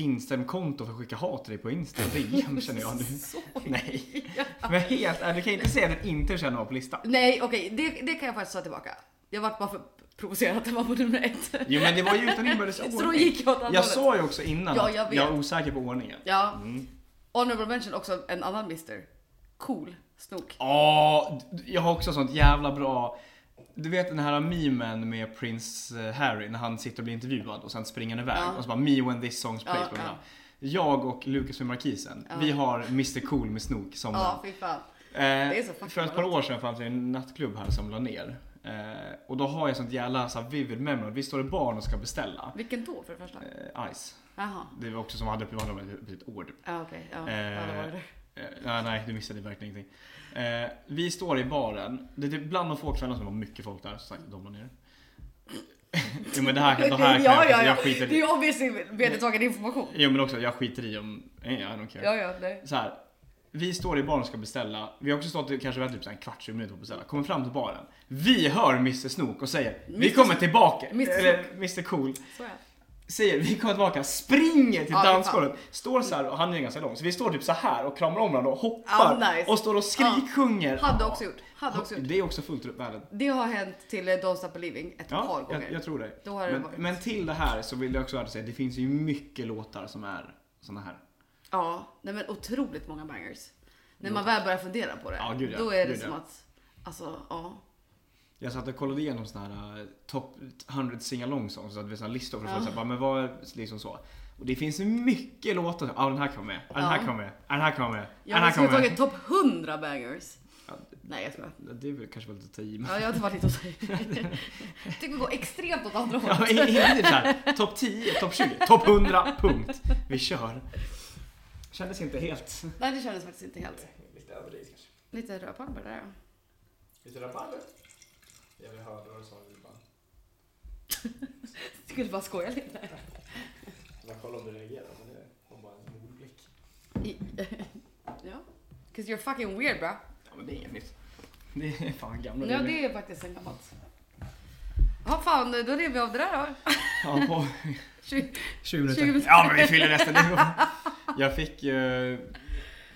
B: Instagram-konto för att skicka hat till dig på Insta. DM känner jag nu.
A: Så-
B: Nej. Men helt ärligt, du kan inte säga att den inte känner av på listan.
A: Nej okej, det, det kan jag faktiskt ta tillbaka. Jag vart bara för provocerad att den var på nummer ett.
B: Jo men det var ju utan inbördes ordning.
A: Så då gick jag åt andra
B: Jag
A: hållet.
B: sa ju också innan
A: Ja,
B: att
A: jag vet.
B: jag är osäker på ordningen. Mm.
A: Ja. Honorable mention också en annan mister. cool snok.
B: Ja, Ah, jag har också sånt jävla bra... Du vet den här memen med prins eh, Harry när han sitter och blir intervjuad och sen springer han iväg
A: Ja.
B: och så bara me when this song's plays.
A: Ja,
B: bla, bla, bla.
A: ja.
B: Jag och Lucas med markisen,
A: Ja.
B: vi har Mr Cool med snok som den.
A: Ja, fy fan. är så
B: Eh,
A: fucking
B: för ett par år sedan fanns det en nattklubb här som la ner. Eh, och då har jag sånt jävla så här, vivid memory. Vi står i barn och ska beställa.
A: Vilken då för det första?
B: Eh, ice.
A: Jaha.
B: Det var också som hade på handla om ett ord.
A: Ja, okej. Ja. ja, det var det.
B: Eh, nej, nej, du missade verkligen ingenting. Eh, vi står i baren. Det är typ bland de få kvällarna som det var mycket folk där. Så sagt, de la ner. jo men det här, det här kan
A: ja,
B: jag,
A: ja, ja.
B: jag skiter
A: Det är
B: i.
A: ju obviously vedertagen information.
B: Jo men också, jag skiter i om... Eh, I don't care.
A: Ja, ja, nej.
B: Så här, vi står i baren och ska beställa. Vi har också stått och kanske väntat typ så här en kvart, 20 minuter på att beställa. Kommer fram till baren. Vi hör Mr Snook och säger Vi
A: Mr.
B: kommer tillbaka.
A: Mr. Snook.
B: Eller Mr Cool.
A: Så är det.
B: Säger vi kommer tillbaka. Springer till
A: Ja,
B: dansgolvet. Står så här och han är ju ganska lång. Så vi står typ så här och kramar om varandra och hoppar.
A: Ja, nice.
B: Och står och skriksjunger.
A: Hade
B: Ja.
A: också gjort. Hade också gjort.
B: Det är också fullt upp världen.
A: Det har hänt till eh, Don't Stop Believing ett par
B: Ja,
A: gånger.
B: jag, jag tror det.
A: Då har det
B: men,
A: varit.
B: men till det här så vill jag också säga att det finns ju mycket låtar som är såna här.
A: Ja, nej men otroligt många bangers. När man väl börjar fundera på det,
B: Ja, gud ja.
A: då är det
B: Gud
A: som
B: ja.
A: att, alltså ja.
B: Jag satt och kollade igenom sådana här eh, top 100 singalong songs, så att vi såna listor för att
A: Ja.
B: få så här, bara, men vad är liksom så. Och det finns mycket låtar som, ja ah, den här kan vara med, ah, den här
A: Ja.
B: kan vara med, ah, den här kan vara med, ah,
A: Jag
B: den här
A: har
B: kan vara
A: tagit
B: med.
A: topp 100 bangers.
B: Ja,
A: Nej jag skojar.
B: Det är väl kanske väl lite att ta i men...
A: Ja, jag har inte varit lite åt Jag tycker vi går extremt åt andra
B: Ja,
A: hållet.
B: men inte det såhär, topp 10, topp 20, topp 100, punkt. Vi kör. Kändes inte helt...
A: Nej det kändes faktiskt inte helt.
B: Lite överdrivet kanske.
A: Lite rödpalmer där ja.
B: Lite rabarber? Jag vill höra vad du sa Ruban.
A: Jag skulle bara skoja lite.
B: Jag kollar om du reagerar, men det var bara en mordblick.
A: I- ja. Cause you're fucking weird bra.
B: Ja men det är inget nytt. Det är fan gamla
A: Ja
B: regler.
A: det är faktiskt en gammalt. Ja fan, då rev vi av det där då.
B: Ja, på
A: 20
B: 20 minuter.
A: 20 minuter.
B: Ja men vi fyller resten. Det går. Jag fick ju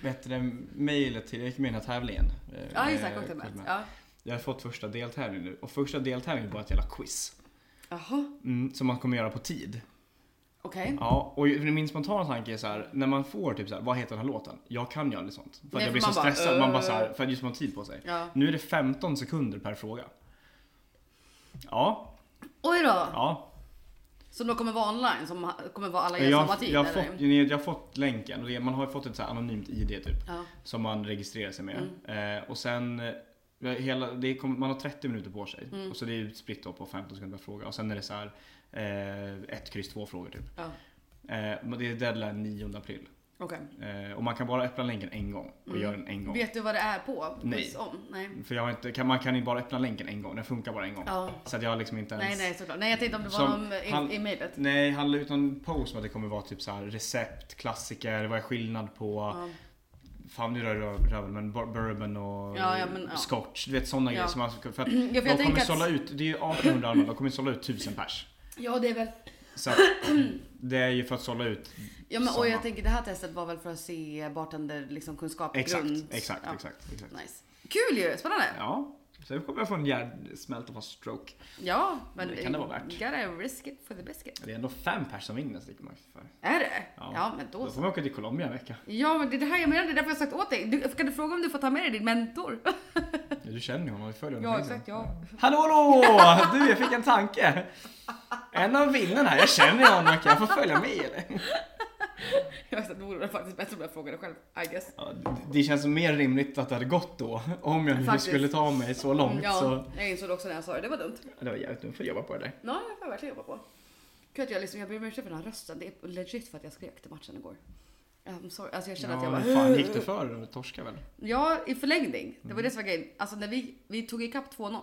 B: vet du, det, mejlet till, jag gick med i den här tävlingen. eh,
A: Ja
B: med
A: just det, cocktailmat.
B: Cocktailmat.
A: Ja.
B: Jag har fått första deltävlingen nu och första deltävlingen var ett jävla quiz.
A: Jaha,
B: Mm, som man kommer göra på tid.
A: okej.
B: Ja, och ju- min spontana tanke är så här, när man får typ så här, vad heter den här låten? Jag kan ju aldrig sånt. För att
A: Nej,
B: jag blir
A: för
B: så
A: man bara,
B: stressad, man bara så här,
A: "Öh."
B: för att just man har tid på sig.
A: Ja.
B: Nu är det 15 sekunder per fråga. Ja,
A: Oj då!
B: ja,
A: Så de kommer vara online, som kommer vara alla i
B: Jag,
A: samma tid?
B: jag, har
A: eller?
B: fått, jag har fått länken och det, man har ju fått ett så här anonymt ID typ.
A: Ja.
B: Som man registrerar sig med.
A: Mm.
B: Eh, och sen, eh, hela, det kommer- man har 30 minuter på sig.
A: Mm.
B: Och så det är utspritt då på 15 sekunder per fråga. Och sen är det så här eh, ett kryss två frågor typ.
A: Ja.
B: Eh, men det är deadline 9 april.
A: Okej.
B: Eh, och man kan bara öppna länken en gång och göra den en gång.
A: Mm. Vet du vad det är på?
B: Nej. Mm.
A: Quiz Om? Nej.
B: För jag har inte, kan, man kan ju bara öppna länken en gång, den funkar bara en gång.
A: Ja.
B: Så att jag har liksom inte ens
A: nej, nej såklart. Nej jag tänkte om det var
B: Som
A: någon i,
B: han-
A: i mejlet.
B: Nej, han la ut någon post om att det kommer vara typ så här recept, klassiker, vad är skillnad på
A: Ja.
B: Fan nu rör jag röven men bur- bourbon och
A: Ja, ja, men, ja.
B: scotch. Du vet sådana
A: Ja.
B: grejer som man ska... För att
A: Ja, för jag
B: de kommer
A: tänker att-
B: sålla ut, det är ju 1800 armar, de kommer sålla ut 1000 pers.
A: Ja det är väl.
B: Så att, det är ju för att sålla ut
A: Ja men och
B: samma.
A: jag tänker det här testet var väl för att se bartender liksom kunskap
B: Exakt,
A: grund.
B: exakt,
A: ja.
B: exakt, exakt.
A: Nice. Kul ju, spännande. Ja,
B: Ja. Sen kommer jag få en hjärnsmält och få stroke.
A: men
B: Det kan det vara värt.
A: Gotta risk it for the biscuit.
B: Det är ändå fem pers som vinner Sticky Max för.
A: Är det?
B: Ja.
A: Ja, men då
B: Då
A: så.
B: får vi åka till Colombia en vecka.
A: Ja men det är det här jag menar, det är därför jag har sagt åt dig. Du, kan du fråga om du får ta med dig din mentor?
B: Du känner ju honom, vi följer honom
A: ja
B: på Instagram.
A: exakt, ja.
B: Hallå hallå! Du, jag fick en tanke. En av vinnarna, jag känner ju honom, kan jag få följa med eller?
A: Jag vet att det vore faktiskt bättre om jag frågade själv, I guess.
B: Ja, det känns mer rimligt att det hade gått då. Om jag nu
A: Faktiskt.
B: skulle ta mig så långt
A: Ja,
B: så.
A: jag insåg det också när jag sa det, det var dumt.
B: Det var jävligt dumt, får jobba på det där.
A: Ja, jag får verkligen jobba på. Gud, att jag, liksom, jag ber om ursäkt för den här rösten, det är legit för att jag skrek till matchen igår. I'm sorry. Alltså jag kände att jag bara...
B: men fan gick det för dig? Du torskade väl?
A: Ja, i förlängning. Det var det som var grejen. Alltså när vi, vi tog ikapp 2-0.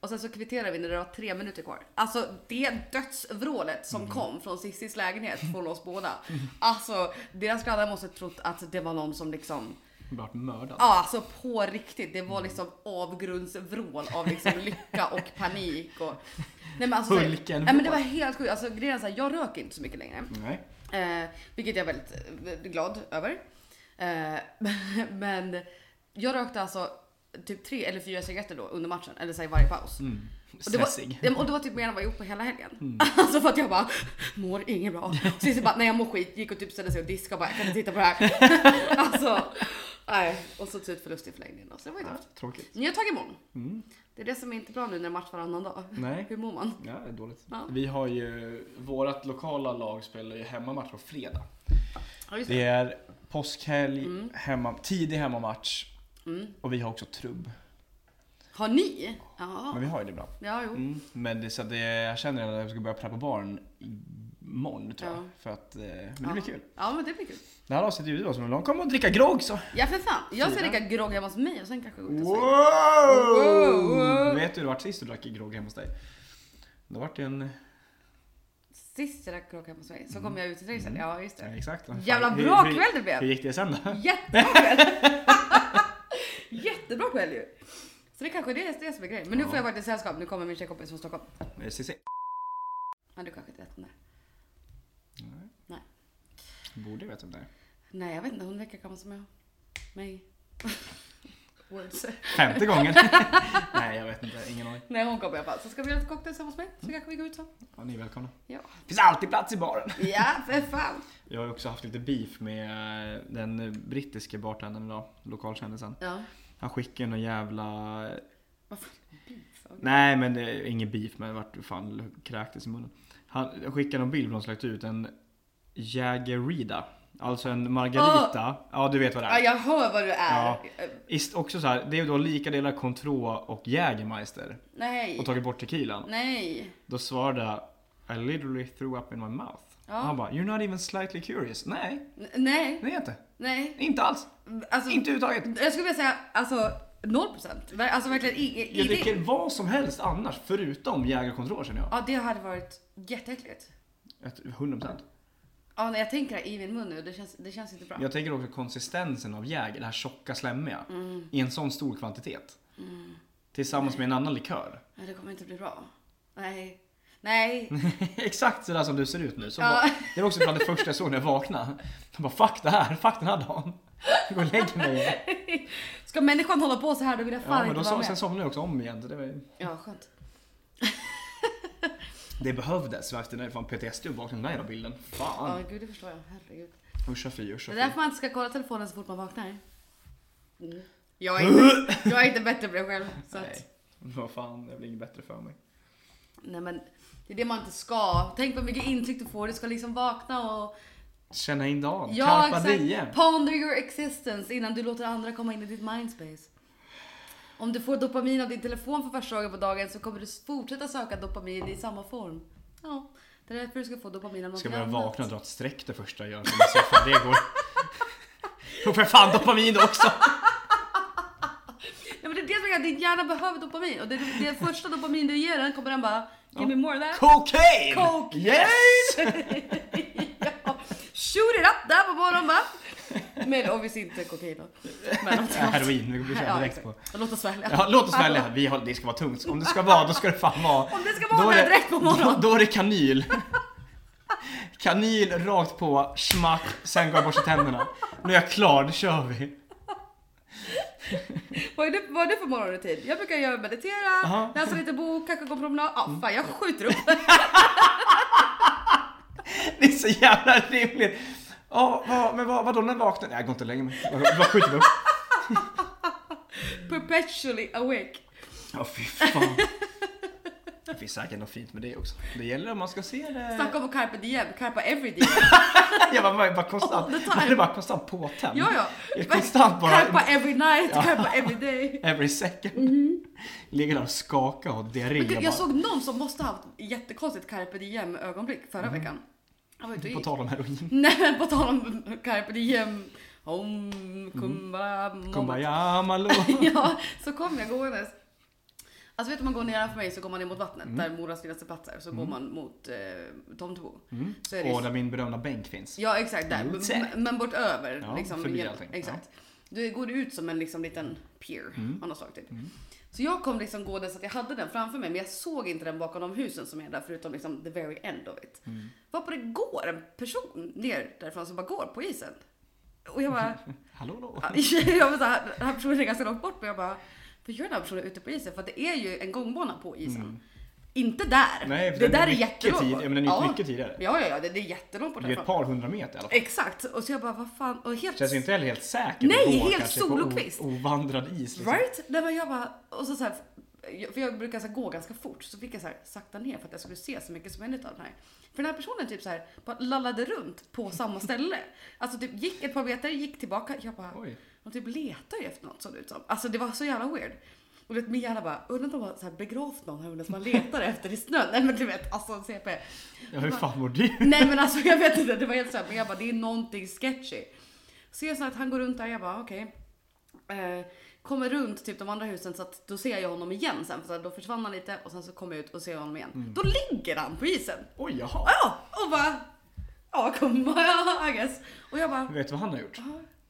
A: Och sen så kvitterade vi när det var tre minuter kvar. Alltså det dödsvrålet som kom från Cissis lägenhet från oss båda. Alltså deras grannar måste trott att det var någon som liksom
B: Blivit mördad.
A: Ja, alltså på riktigt. Det var liksom avgrundsvrål av liksom lycka och panik. Och... Nej, men alltså, så-
B: Hulken
A: Nej, men det
B: vår.
A: var helt sjukt. Alltså, grejen är så här, jag röker inte så mycket längre.
B: Nej.
A: Eh, vilket jag är väldigt eh, glad över. Eh, men jag rökte alltså typ tre eller fyra cigaretter då under matchen. Eller så här, i varje paus. Och det, var,
B: Mm. Stressig. Mm.
A: Ja, men- och det var typ mer än vad jag gjort på hela helgen. Alltså för att jag bara mår inget bra. Cissi bara nej jag mår skit, gick och typ ställde sig och diskade och bara jag kan inte titta på det här. alltså Nej, och så typ förlust i förlängningen då, så det var ju
B: Ja,
A: tufft.
B: tråkigt.
A: Ni har tagit imorgon.
B: Mm.
A: Det är det som är inte bra nu när det är match varannan dag.
B: Nej.
A: Hur mår man?
B: Ja, det är dåligt.
A: Ja.
B: Vi har ju, vårat lokala lag spelar ju hemmamatch på fredag.
A: Ja, just det.
B: Det är påskhelg,
A: Mm.
B: hemma, tidig hemmamatch
A: Mm.
B: och vi har också trubb.
A: Har ni?
B: Men
A: Ja,
B: vi har ju det bra.
A: ja jo.
B: Mm. Men det, så att det, jag känner redan att jag ska börja preppa barn imorgon tror jag.
A: Ja.
B: För att, eh, men det blir kul.
A: Ja, men det blir kul.
B: Det här avsnittet är ju som de kommer och dricka grogg så.
A: Ja, för fan. Jag ska
B: Fyra.
A: dricka grogg hemma hos mig och sen kanske gå ut och
B: Wow!
A: svänga. Wow!
B: Vet du hur det vart sist du drack grogg hemma hos dig? Det vart ju en...
A: Sist jag drack grogg hemma hos mig så kom jag ut i trädgården. Ja, just
B: Ja,
A: det.
B: exakt.
A: Jävla
B: Hur-
A: bra
B: hur-
A: kväll det blev.
B: Hur gick det sen då?
A: Jättebra kväll! Jättebra kväll ju! Så det kanske är det, det som är grejen. Men nu
B: Ja.
A: får jag faktiskt sällskap. Nu kommer min tjejkompis från Stockholm.
B: Eh, CC.
A: Men du kanske inte vet om det är.
B: Nej.
A: Nej.
B: Borde ju veta om det är.
A: Nej, jag vet inte. Hon verkar gammal som jag. Mig. Words.
B: Femte gången. Nej, jag vet inte. Ingen aning.
A: Nej, hon kommer i alla fall. Så ska vi göra lite cocktails hemma hos mig. Så kanske vi går ut så.
B: Ja, ni är välkomna.
A: Ja.
B: Finns alltid plats i baren.
A: Ja, för fan!
B: Jag har ju också haft lite beef med eh, den brittiske bartendern idag. Lokalkändisen.
A: Ja.
B: Han skickade någon jävla...
A: Vad fan? Beef? Okej.
B: Nej, men det är ingen beef, men vart fan kräktes i munnen. Han skickade någon bild på någon slags ut. En Jägerida. Alltså en margarita. Ja, du vet vad det
A: Ja,
B: är.
A: jag hör vad du är.
B: Ja.
A: Eh,
B: Ist också så här, det är ju då lika delar Controa och Jägermeister
A: Nej.
B: och tagit bort tequilan.
A: Nej.
B: Då svarade jag, I literally threw up in my mouth.
A: Ja.
B: Och han bara, you're not even slightly curious. Nej,
A: N- nej.
B: det är jag inte.
A: Nej.
B: Inte alls.
A: Alltså,
B: Inte överhuvudtaget.
A: jag skulle vilja säga alltså 0%. Ver- Alltså verkligen i, i,
B: Jag
A: i det.
B: dricker vad som helst annars förutom Jäger och Controa känner jag.
A: Ja, det hade varit jätteäckligt.
B: Ett- 100%.
A: Ja, när jag tänker det här i min mun nu, det känns, det känns inte bra.
B: Jag tänker också konsistensen av Jäger, det här tjocka slemmiga.
A: Mm.
B: I en sån stor kvantitet. Tillsammans med en annan likör.
A: Nej, det kommer inte bli bra. Nej. Nej.
B: Exakt sådär Mm, som du ser ut nu. Så
A: Ja.
B: bara, det var också bland det första jag såg när jag vaknade. Jag bara fuck det här, fuck den här dagen. Jag går och lägger mig.
A: Ska människan hålla på så här då vill jag fan
B: Ja, men
A: inte
B: då
A: vara
B: så,
A: med.
B: sen somnade jag också om igen. Så det, var,
A: Ja, skönt.
B: det behövdes. För efter det fan PTSD och vaknade den där jävla bilden.
A: Ja,
B: Fan.
A: gud det förstår jag. Herregud.
B: Uscha fy, uscha
A: Det är
B: fy.
A: därför man inte ska kolla telefonen så fort man vaknar. Mm. Jag, är inte, jag är inte bättre på det själv. Så att,
B: Nej. Vad fan, det blir inget bättre för mig.
A: nej men det är det man inte ska. Tänk vad mycket intryck du får. Du ska liksom vakna och
B: Känna in dagen.
A: Ja,
B: Carpa
A: exakt.
B: diem.
A: Ponder your existence innan du låter andra komma in i ditt mindspace. Om du får dopamin av din telefon för första gången på dagen så kommer du fortsätta söka dopamin i samma form. Ja, det är därför du ska få dopamin av
B: Ska
A: någonting
B: börja
A: annat.
B: vakna och dra ett streck det första jag gör. Så man ser hur fan det går. Och för fan dopamin också.
A: Ja, men det är det som är att din hjärna behöver dopamin och det, är det första dopamin du ger den kommer den bara Give me more of that.
B: Cocaine!
A: Coke.
B: Yes! Äh,
A: ja. Shoot it up där på morgonen va? Men obviously inte kokain då. Men
B: Heroin, vi blir
A: Ja,
B: kända direkt på.
A: exakt. Låt oss välja.
B: Ja, låt oss välja. Vi har, det ska vara tungt. Om det ska vara, då ska det fan vara.
A: Om det ska vara
B: Då är
A: det direkt på morgonen.
B: Då, då är det kanyl. Kanyl rakt på, smack, sen går jag och borstar tänderna. Nu är jag klar, nu kör vi.
A: Vad är, det, vad är det för morgonrutin? Jag brukar göra meditera,
B: Aha.
A: läsa lite bok, kanske gå en promenad. Ah, fan jag skjuter upp.
B: Det är så jävla rimligt. Ja, vad, men vad, vadå när jag vaknar? Nej, jag går inte och lägger mig. Jag jag skjuter upp.
A: Perpetually awake.
B: Ja, fy fan. Det finns säkert något fint med det också. Det gäller om man ska se det.
A: Snacka om att carpe diem, carpa every diem.
B: Jag bara, bara, bara konstant,
A: All the time.
B: man är bara konstant påtänd.
A: Ja, ja.
B: Jag är konstant bara
A: Carpa every night,
B: Ja.
A: carpa every day.
B: every second. Ligger där och skakar och har diarré.
A: Mhm. Men gud,
B: bara.
A: jag såg någon som måste ha haft jättekonstigt carpe diem ögonblick förra veckan. Jag var ute och
B: Mhm. På
A: gick.
B: tal om heroin.
A: Nej men på tal om carpe diem. Om
B: Mhm.
A: kumbaya.
B: Kumbaya Malou.
A: ja, så kom jag gåendes. Alltså vet du, om man går nedanför mig så går man ner mot vattnet
B: Mm.
A: där Moras finaste plats är. Så går man mot eh, Tomtebo. Så är det
B: Och Mm. där min berömda bänk finns.
A: Ja exakt där.
B: Mot sig.
A: Men- Men bortöver.
B: Ja,
A: liksom,
B: förbi
A: genom-
B: allting.
A: Exakt. Du går ut som en liksom, liten pier
B: Mm.
A: av något slag typ. Så jag kom liksom gående så att jag hade den framför mig men jag såg inte den bakom de husen som är där förutom liksom the very end of it.
B: Mm.
A: Var på det går en person ner därifrån som bara går på isen. Och jag bara,
B: Hallå då.
A: Ja, jag var så här, den här personen är ganska långt bort men jag bara, vad gör den här personen ute på isen? För att det är ju en gångbana på isen. Inte där.
B: Mm. Nej,
A: det
B: den
A: där är
B: gick
A: jättelångt
B: tid-
A: bort.
B: ja, men den gick mycket tidigare.
A: Ja, ja, ja, det, det är jättelångt bort
B: Det är ett
A: härifrån.
B: par hundra meter i alla fall.
A: Exakt, och så jag bara vad fan och helt
B: Känns inte heller helt säker
A: Nej,
B: att gå
A: helt
B: kanske på
A: solokvist.
B: o- Ovandrad is. Liksom.
A: Right? Nej men jag bara, och så, så här, för jag brukar så här, gå ganska fort, så fick jag så här, sakta ner för att jag skulle se så mycket som möjligt av den här. För den här personen typ så här, bara lallade runt på samma ställe. Alltså typ gick ett par meter, gick tillbaka. Jag bara,
B: Oj.
A: de typ letar ju efter något såg det ut som. Alltså det var så jävla weird. Och du vet min hjärna bara, undrar om de har så här begravt någon här under som man letar efter i snön. Nej men du vet, alltså CP.
B: Ja, hur fan mår du?
A: Nej men alltså jag vet inte, det var helt såhär, men jag bara det är någonting sketchy. Så jag så att han går runt där, jag bara okej. Eh, kommer runt typ de andra husen så att då ser jag honom igen sen. För så här, då försvann han lite och sen så kommer jag ut och ser honom igen. Då ligger han på isen.
B: Oj, jaha.
A: Ja, och bara ja kom I guess. Och jag bara
B: Vet du vad han har gjort?
A: "Ja,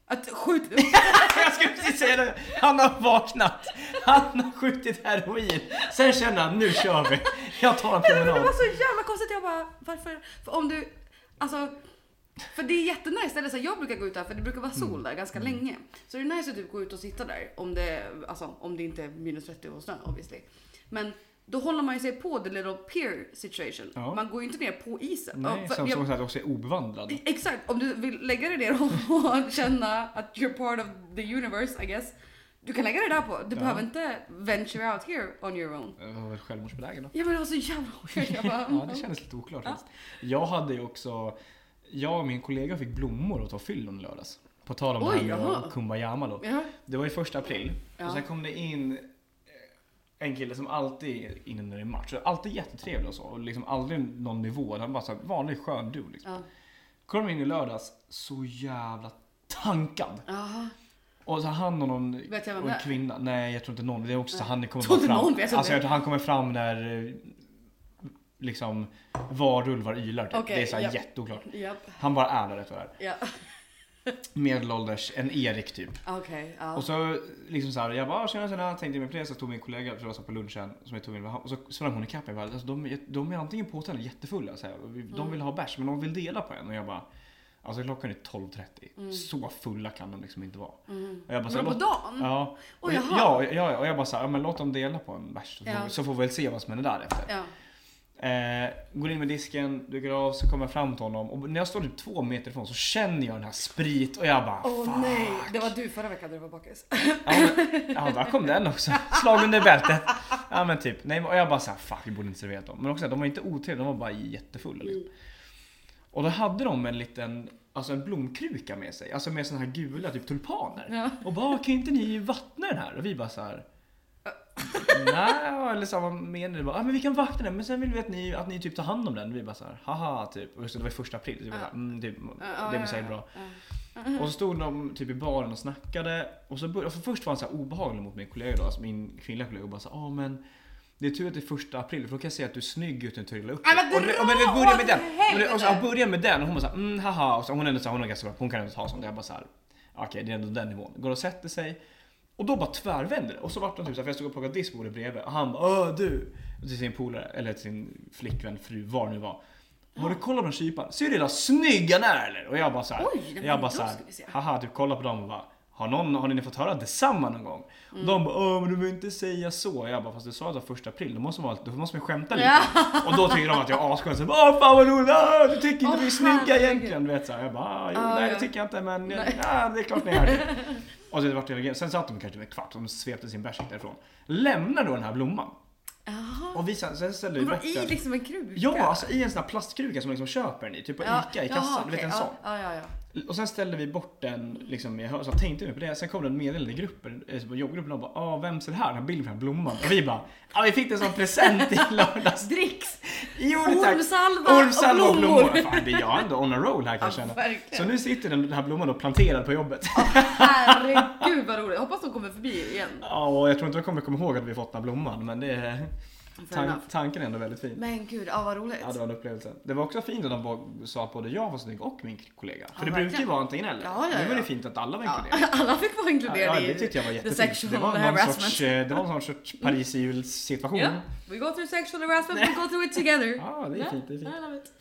A: att skjut upp.
B: Jag skulle precis säga det. Han har vaknat. Han har skjutit heroin. Sen känner han, nu kör vi. Jag tar en
A: Nej, men det
B: promenad.
A: var så jävla konstigt. Jag bara, varför? För om du, alltså. För det är jättenice eller så här, jag brukar gå ut där för det brukar vara
B: Mm.
A: sol där ganska länge. Så det är nice att typ gå ut och sitta där om det, alltså, om det inte är minus 30 och snö obviously. Men då håller man ju sig på the little peer situation.
B: Ja.
A: Man går ju inte ner på isen.
B: Nej,
A: Ja, för
B: som
A: jag-
B: som att också är obevandrad.
A: Exakt, om du vill lägga dig ner och känna att you're part of the universe I guess. Du kan lägga dig där på. Du
B: Ja.
A: behöver inte venture out here on your own.
B: Jag var väl självmordsbelägen då.
A: Ja men det var så jävla weird. Jag bara,
B: Ja, det kändes lite oklart faktiskt. Jag hade ju också, jag och min kollega fick blommor att ta fyllon i lördags. På tal om
A: Oj,
B: det här
A: jaha.
B: med Kumbayama då.
A: Ja.
B: Det var ju första april.
A: Ja.
B: Och sen kom det in eh, en kille som alltid är inne när det är match. Och Alltid jättetrevlig och så. Och liksom aldrig någon nivå. Han bara så här, vanlig skön du liksom.
A: Ja.
B: Kom in i lördags, så jävla tankad.
A: Jaha.
B: Och så han och någon
A: Vet jag vem
B: och
A: det
B: en
A: är?
B: kvinna. Nej jag tror inte någon. Det är också så
A: Nej.
B: han kommer
A: Tror
B: bara
A: inte
B: fram.
A: någon vet jag inte.
B: alltså jag tror han kommer fram när eh, liksom varulvar ylar typ.
A: Okej,
B: Det är så här
A: ja.
B: jätteoklart.
A: Japp.
B: Han bara är där rätt vad det är.
A: Ja.
B: Medelålders, en Erik typ.
A: Okej. ja.
B: Och så liksom så här, jag bara tjena tjena, tänkte mig på det. Så tog min kollega, för det var så här på lunchen, som jag tog med och så sprang hon ikapp mig. Jag bara, Alltså, de, är- de är antingen på hotellet jättefulla, så här, och vi-
A: Mm.
B: de vill ha bärs men de vill dela på en. Och jag bara, alltså klockan är 12.30. Så fulla kan de liksom inte vara. Och jag bara, så här,
A: Mm. Vadå, på
B: låt-
A: dagen?
B: Ja.
A: Oj,
B: ja,
A: jaha.
B: ja, ja, och jag bara så här, ja, men låt dem dela på en bärs. Så, får
A: Ja.
B: vi- så får vi väl se vad som händer därefter.
A: Ja.
B: Eh, går in med disken, dukar av, så kommer jag fram till honom. Och när jag står typ två meter ifrån så känner jag den här sprit och jag bara,
A: Åh
B: fuck.
A: nej, det var du förra veckan när du var bakis.
B: Ja, men, ja där kom den också. Slag under bältet. Ja men typ. Nej, och jag bara såhär, fuck vi borde inte serverat dem. Men också de var inte otrevliga, de var bara jättefulla. Liksom. Och då hade de en liten, alltså en blomkruka med sig. Alltså med såna här gula typ tulpaner.
A: Ja.
B: Och bara, kan inte ni vattna den här? Och vi bara så här. Nej, eller så här, vad menar du? Bara, ah, men vi kan vakta den men sen vill vi att ni, att ni typ tar hand om den. Och vi bara så här, haha typ. Och just det, det var ju första april. Så vi bara, så här, mm, typ, det blir säkert bra.
A: Mm-hmm.
B: Och så stod de typ i baren och snackade. Och så började, för först var han så här obehaglig mot min kollega då, alltså min kvinnliga kollega. Och bara så här, ah, men det är tur att det är första april för då kan jag se att du är snygg utan att trilla upp
A: Nej,
B: dig."
A: men
B: och, det-
A: dra
B: och, men vi börjar med
A: åt
B: den. Och, det, och så,
A: helvete.
B: jag börjar med den och hon bara så här, mm, haha. Och så, hon är ändå så här, hon är ganska bra, hon kan ändå ta sånt. Jag bara så här, okej det är ändå den nivån. Går och sätter sig. Och då bara tvärvänder det. Och så vart de typ såhär, för jag stod och plockade diskbordet bredvid och han bara Åh du! Till sin polare, eller till sin flickvän, fru, vad det nu var. Har du kollat på den kyparen? Ser du hur jävla snygg han är eller? Och jag bara såhär,
A: Oj, nej,
B: jag
A: men
B: bara
A: då
B: såhär,
A: ska vi se.
B: haha typ kolla på dem och bara har, någon, har ni fått höra detsamma någon gång?
A: Mm.
B: Och de bara Åh, men du vill inte säga så. Jag bara fast du sa att det var första april, då måste man, då måste man skämta lite. Och då tycker de att jag är asskön. Så jag bara, Åh fan vad roligt, Åh, du tycker inte
A: Åh,
B: vi är snygga
A: herregud.
B: egentligen. Du vet såhär. Jag bara "Ah, jo,
A: Ja,
B: nej
A: ja.
B: det tycker jag inte men jag,
A: Nej.
B: nej, det är klart ni är det. Och så vart det hela Sen satt de kanske en kvart, de svepte sin bärs därifrån. Lämnar då den här blomman.
A: Jaha.
B: Och vi sen, sen ställde vi
A: Vadå
B: bort
A: i
B: den.
A: liksom en kruka?
B: Ja, alltså i en sån här plastkruka som man liksom köper den i. Typ på
A: Ja,
B: ICA i
A: jaha,
B: kassan. du vet
A: okej,
B: en
A: ja,
B: sån.
A: Ja, ja, ja.
B: Och sen ställde vi bort den liksom i hö- så tänkte vi på det. Sen kom det en meddelande i gruppen, eh, på jobbgruppen och bara ah, vem ser här? Den här bilden på den här blomman. Och vi bara ah, vi fick den som present i lördags.
A: Dricks!
B: Jo, tack.
A: Ormsalva,
B: Ormsalva och blommor.
A: blommor.
B: Fan, det är jag ändå on a roll här kan jag
A: Ja,
B: känna.
A: verkligen.
B: Så nu sitter den den här blomman och planterad på jobbet.
A: Herregud vad roligt. Jag hoppas de kommer förbi igen.
B: Ja, och jag tror inte jag kommer komma ihåg att vi fått den här blomman, men det är... Tan-
A: enough.
B: tanken är ändå väldigt fin.
A: Men gud, ja vad roligt.
B: Ja, det var en upplevelse. Det var också fint att de bo- sa att både jag var snygg och min kollega. För
A: Ja,
B: det brukar ju
A: verkligen.
B: vara antingen eller.
A: Ja, ja,
B: Nu var det
A: ja.
B: fint att alla var
A: Ja,
B: inkluderade.
A: alla fick vara
B: Ja,
A: inkluderade
B: ja,
A: i
B: det tyckte jag var
A: the
B: jättefint. Det
A: sexual
B: var någon
A: harassment. Mm.
B: sorts, eh, det var någon sorts Paris situation.
A: Ja. We go through sexual harassment, we go through it together.
B: Ja, det är fint. Det är fint.
A: I love it.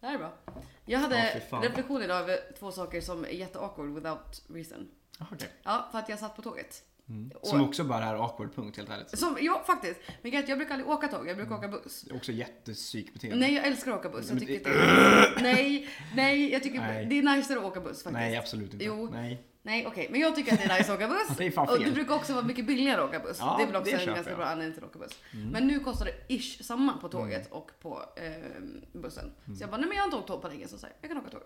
A: Det här är bra. Jag
B: Ja,
A: hade
B: fy fan.
A: reflektion idag över två saker som är jätteawkward without reason.
B: Ah, okej.
A: Ja, för att jag satt på tåget.
B: Mm. Som
A: Och-
B: också bara är awkward punkt helt ärligt.
A: Som, ja, faktiskt. Men grejen är att jag brukar aldrig åka tåg, jag brukar åka buss.
B: Det är också jättepsykbeteende.
A: Nej, jag älskar att åka buss. Jag
B: Mm. Men det-
A: tycker att det är... Nej, nej, jag tycker
B: Nej.
A: det är niceare att åka buss faktiskt.
B: Nej, absolut inte.
A: Jo.
B: Nej.
A: Nej, okej, men jag tycker att det är nice att åka buss.
B: Det är fan
A: och det
B: fel.
A: brukar också vara mycket billigare att åka buss.
B: Ja,
A: det är väl också
B: det
A: en
B: köper
A: ganska
B: jag. Mm.
A: bra anledning till att åka buss. Men nu kostar det ish samma på tåget och på eh, bussen.
B: Mm.
A: Så jag bara, nej men jag har inte åkt tåg på länge, så, så här, jag kan åka tåg.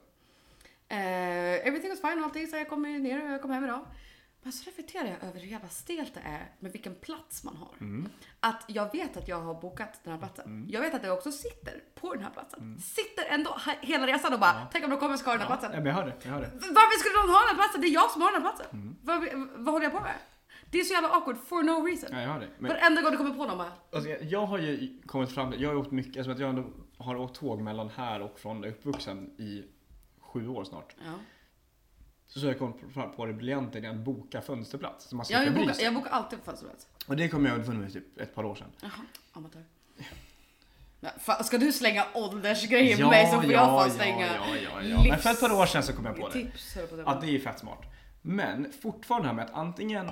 A: Eh, everything was fine och allting, så jag kom ju ner och jag kom hem idag. Men så reflekterar jag över hur jävla stelt det är med vilken plats man har.
B: Mm.
A: Att jag vet att jag har bokat den här platsen. Jag vet att jag också sitter på den här platsen. Sitter ändå he- hela resan och bara, tänk om de kommer och ska ha den här
B: Mm. Ja,
A: platsen.
B: men jag hör det. Jag hör det.
A: Varför skulle de ha den här platsen? Det är jag som har den här platsen.
B: Mm.
A: Vad, vad håller jag på med? Det är så jävla awkward for no reason.
B: Ja, jag hör det. Men,
A: Varenda gång du kommer på någon bara,
B: alltså, jag- jag har ju kommit fram jag har ju åkt mycket, eftersom att jag ändå har åkt tåg mellan här och från, jag är uppvuxen i sju år snart.
A: ja.
B: Så, så har jag kommit fram på det briljanta idén att boka fönsterplats. Så man
A: jag,
B: slipper
A: jag,
B: bry
A: bokar,
B: sig.
A: jag bokar alltid på fönsterplats.
B: Och det kom jag underfund med typ ett par år sedan.
A: Jaha, amatör. Ja, fan, ska du slänga åldersgrejer på
B: Ja,
A: mig så får jag
B: ja,
A: fan
B: ja,
A: slänga
B: ja, ja, ja. Men för ett par år sedan så kom jag på det.
A: livstips, höll jag på att säga.
B: Ja, det är ju fett smart. Men fortfarande det här med att antingen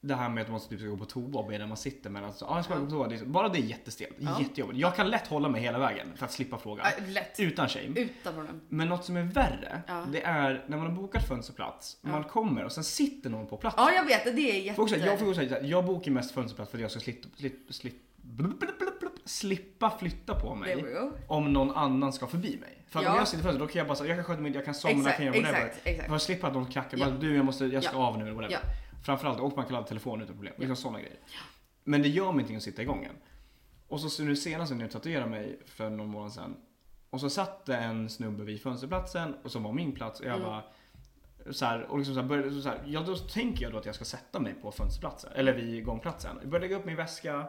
B: det här med att man typ ska gå på toa och be när man sitter men alltså, ah, jag ska bara gå på toa. Det är, bara det är jättestelt,
A: Ja.
B: jättejobbigt. Jag kan lätt hålla mig hela vägen för att slippa frågan.
A: Ja, lätt.
B: Utan shame.
A: Utan problem.
B: Men något som är värre,
A: Ja.
B: det är när man har bokat fönsterplats, man kommer och sen sitter någon på platsen.
A: Ja, jag vet det. Det är jätte...
B: Får också, jag, får också, säga så här, jag bokar mest fönsterplats för att jag ska slip, slip, slip, blup, blup, blup, blup, slippa flytta på
A: There we
B: mig
A: go.
B: om någon annan ska förbi mig. För att om
A: Ja.
B: jag sitter i fönstret då kan jag bara så här, jag kan sköta mig, jag kan somna, jag
A: Exakt,
B: kan göra whatever.
A: exakt, exakt.
B: För att slippa att någon klackar,
A: Ja.
B: bara, du jag, måste, jag ska
A: Ja.
B: av nu eller whatever.
A: Ja.
B: Framförallt, och man kan ladda telefonen utan problem. Liksom sådana grejer. Men det gör mig ingenting att sitta igång än. Och så nu senast när jag tatuerade mig för någon månad sedan. Och så satt det en snubbe vid fönsterplatsen och som var min plats och jag
A: Mm.
B: bara så här, och liksom så här, började, så här, ja, då tänker jag då att jag ska sätta mig på fönsterplatsen, eller vid gångplatsen. Jag började lägga upp min väska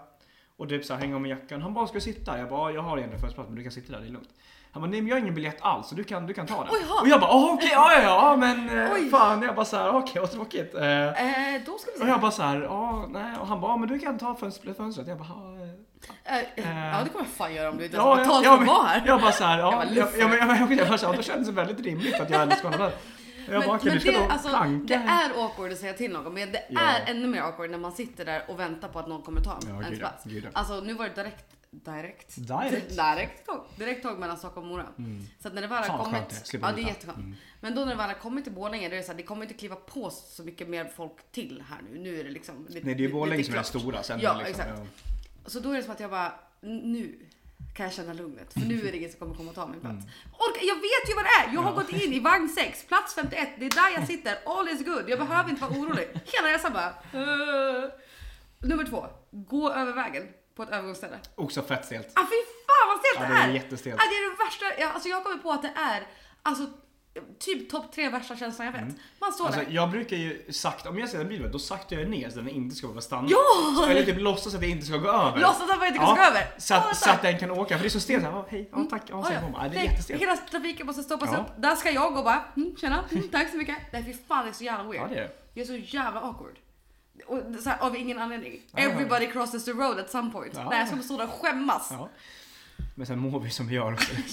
B: och typ så här, hänga om jackan. Han bara, ska du sitta? Jag bara, "Ja, jag har egentligen fönsterplats men du kan sitta där, det är lugnt. Han bara, nej men jag har ingen biljett alls så du kan, du kan ta den.
A: Oj, ja.
B: och jag bara, "Ah, okej, ja ja ja men eh,
A: Oj.
B: fan. Jag bara så här, okej vad tråkigt. Eh,
A: Eh, då ska vi se.
B: och jag bara så här, ja nej. Och han bara, "Ja, men du kan ta fönster- fönstret. Jag bara, "Ja, eh."
A: Eh, eh, ja, det kommer jag fan göra om du inte ens
B: Ja,
A: betalt
B: ja,
A: för att
B: men-
A: vara här.
B: Jag bara såhär,
A: Jag
B: ja,
A: bara,
B: jag, jag,
A: luffar.
B: jag, jag, jag, jag, bara så här, då kändes det väldigt rimligt att jag hade skadat den. Jag bara, okej du ska
A: det,
B: då
A: alltså, det
B: planka.
A: är awkward att säga till någon, men det
B: Ja.
A: är ännu mer awkward när man sitter där och väntar på att någon kommer ta
B: Ja,
A: ens
B: gud ja,
A: plats.
B: gud ja.
A: Alltså nu var det direkt, direkt,
B: Direkt.
A: direkt tåg, direkt tåg mellan Stockholm och Mora. Så att när det väl
B: Fan,
A: har
B: vad
A: kommit,
B: skönt Mm. det är. Slipper
A: ja det är
B: byta.
A: jätteskönt. Men då när det väl har kommit till Borlänge, då är det så här, det kommer inte kliva på så mycket mer folk till här nu. Nu är det liksom lite,
B: Nej det är ju
A: lite
B: Borlänge som är den
A: klart.
B: stora. Sen
A: Ja,
B: är det liksom,
A: exakt. Så då är det som att jag bara, nu kan jag känna lugnet. För nu är det ingen som kommer komma och ta min plats.
B: Mm.
A: Orka, jag vet ju vad det är! Jag har gått in i vagn 6, plats 51. Det är där jag sitter. All is good. Jag behöver inte vara orolig. Hela resan bara... eh. Nummer två. Gå över vägen på ett övergångsställe.
B: Ja. Också fett stelt.
A: Ah, fy fan vad
B: Ja,
A: stelt
B: det är
A: det är!
B: jättestelt.
A: Ah, det är det värsta. Jag, alltså, jag kommer på att det är alltså, typ topp tre värsta känslan jag vet. Man står
B: Alltså,
A: där.
B: jag brukar ju sakta, om jag ser en bil då saktar jag ner så den inte ska behöva stanna.
A: Ja!
B: Så, eller typ låtsas att det inte ska gå över.
A: Låtsas att man inte
B: Ja,
A: ska gå över.
B: Så
A: Ja,
B: att, så
A: tack.
B: att den kan åka, för det är så stelt. Ja, hej, ja, tack, ja,
A: Mm. Ah, Ja,
B: sen
A: ja.
B: kommer man. Ja, det är
A: Nej,
B: jättestelt.
A: Hela trafiken måste stoppas
B: Ja.
A: upp. Där ska jag gå och bara, mm, tjena, mm, tack så mycket. Nej fy fan det är så jävla weird.
B: Ja, det är det.
A: är så jävla awkward. Och det är så här, av ingen anledning.
B: Ja,
A: Everybody crosses the road at some point.
B: Ja.
A: Nej jag ska stå där och skämmas. Ja,
B: Ja. Men sen mår vi som vi gör också.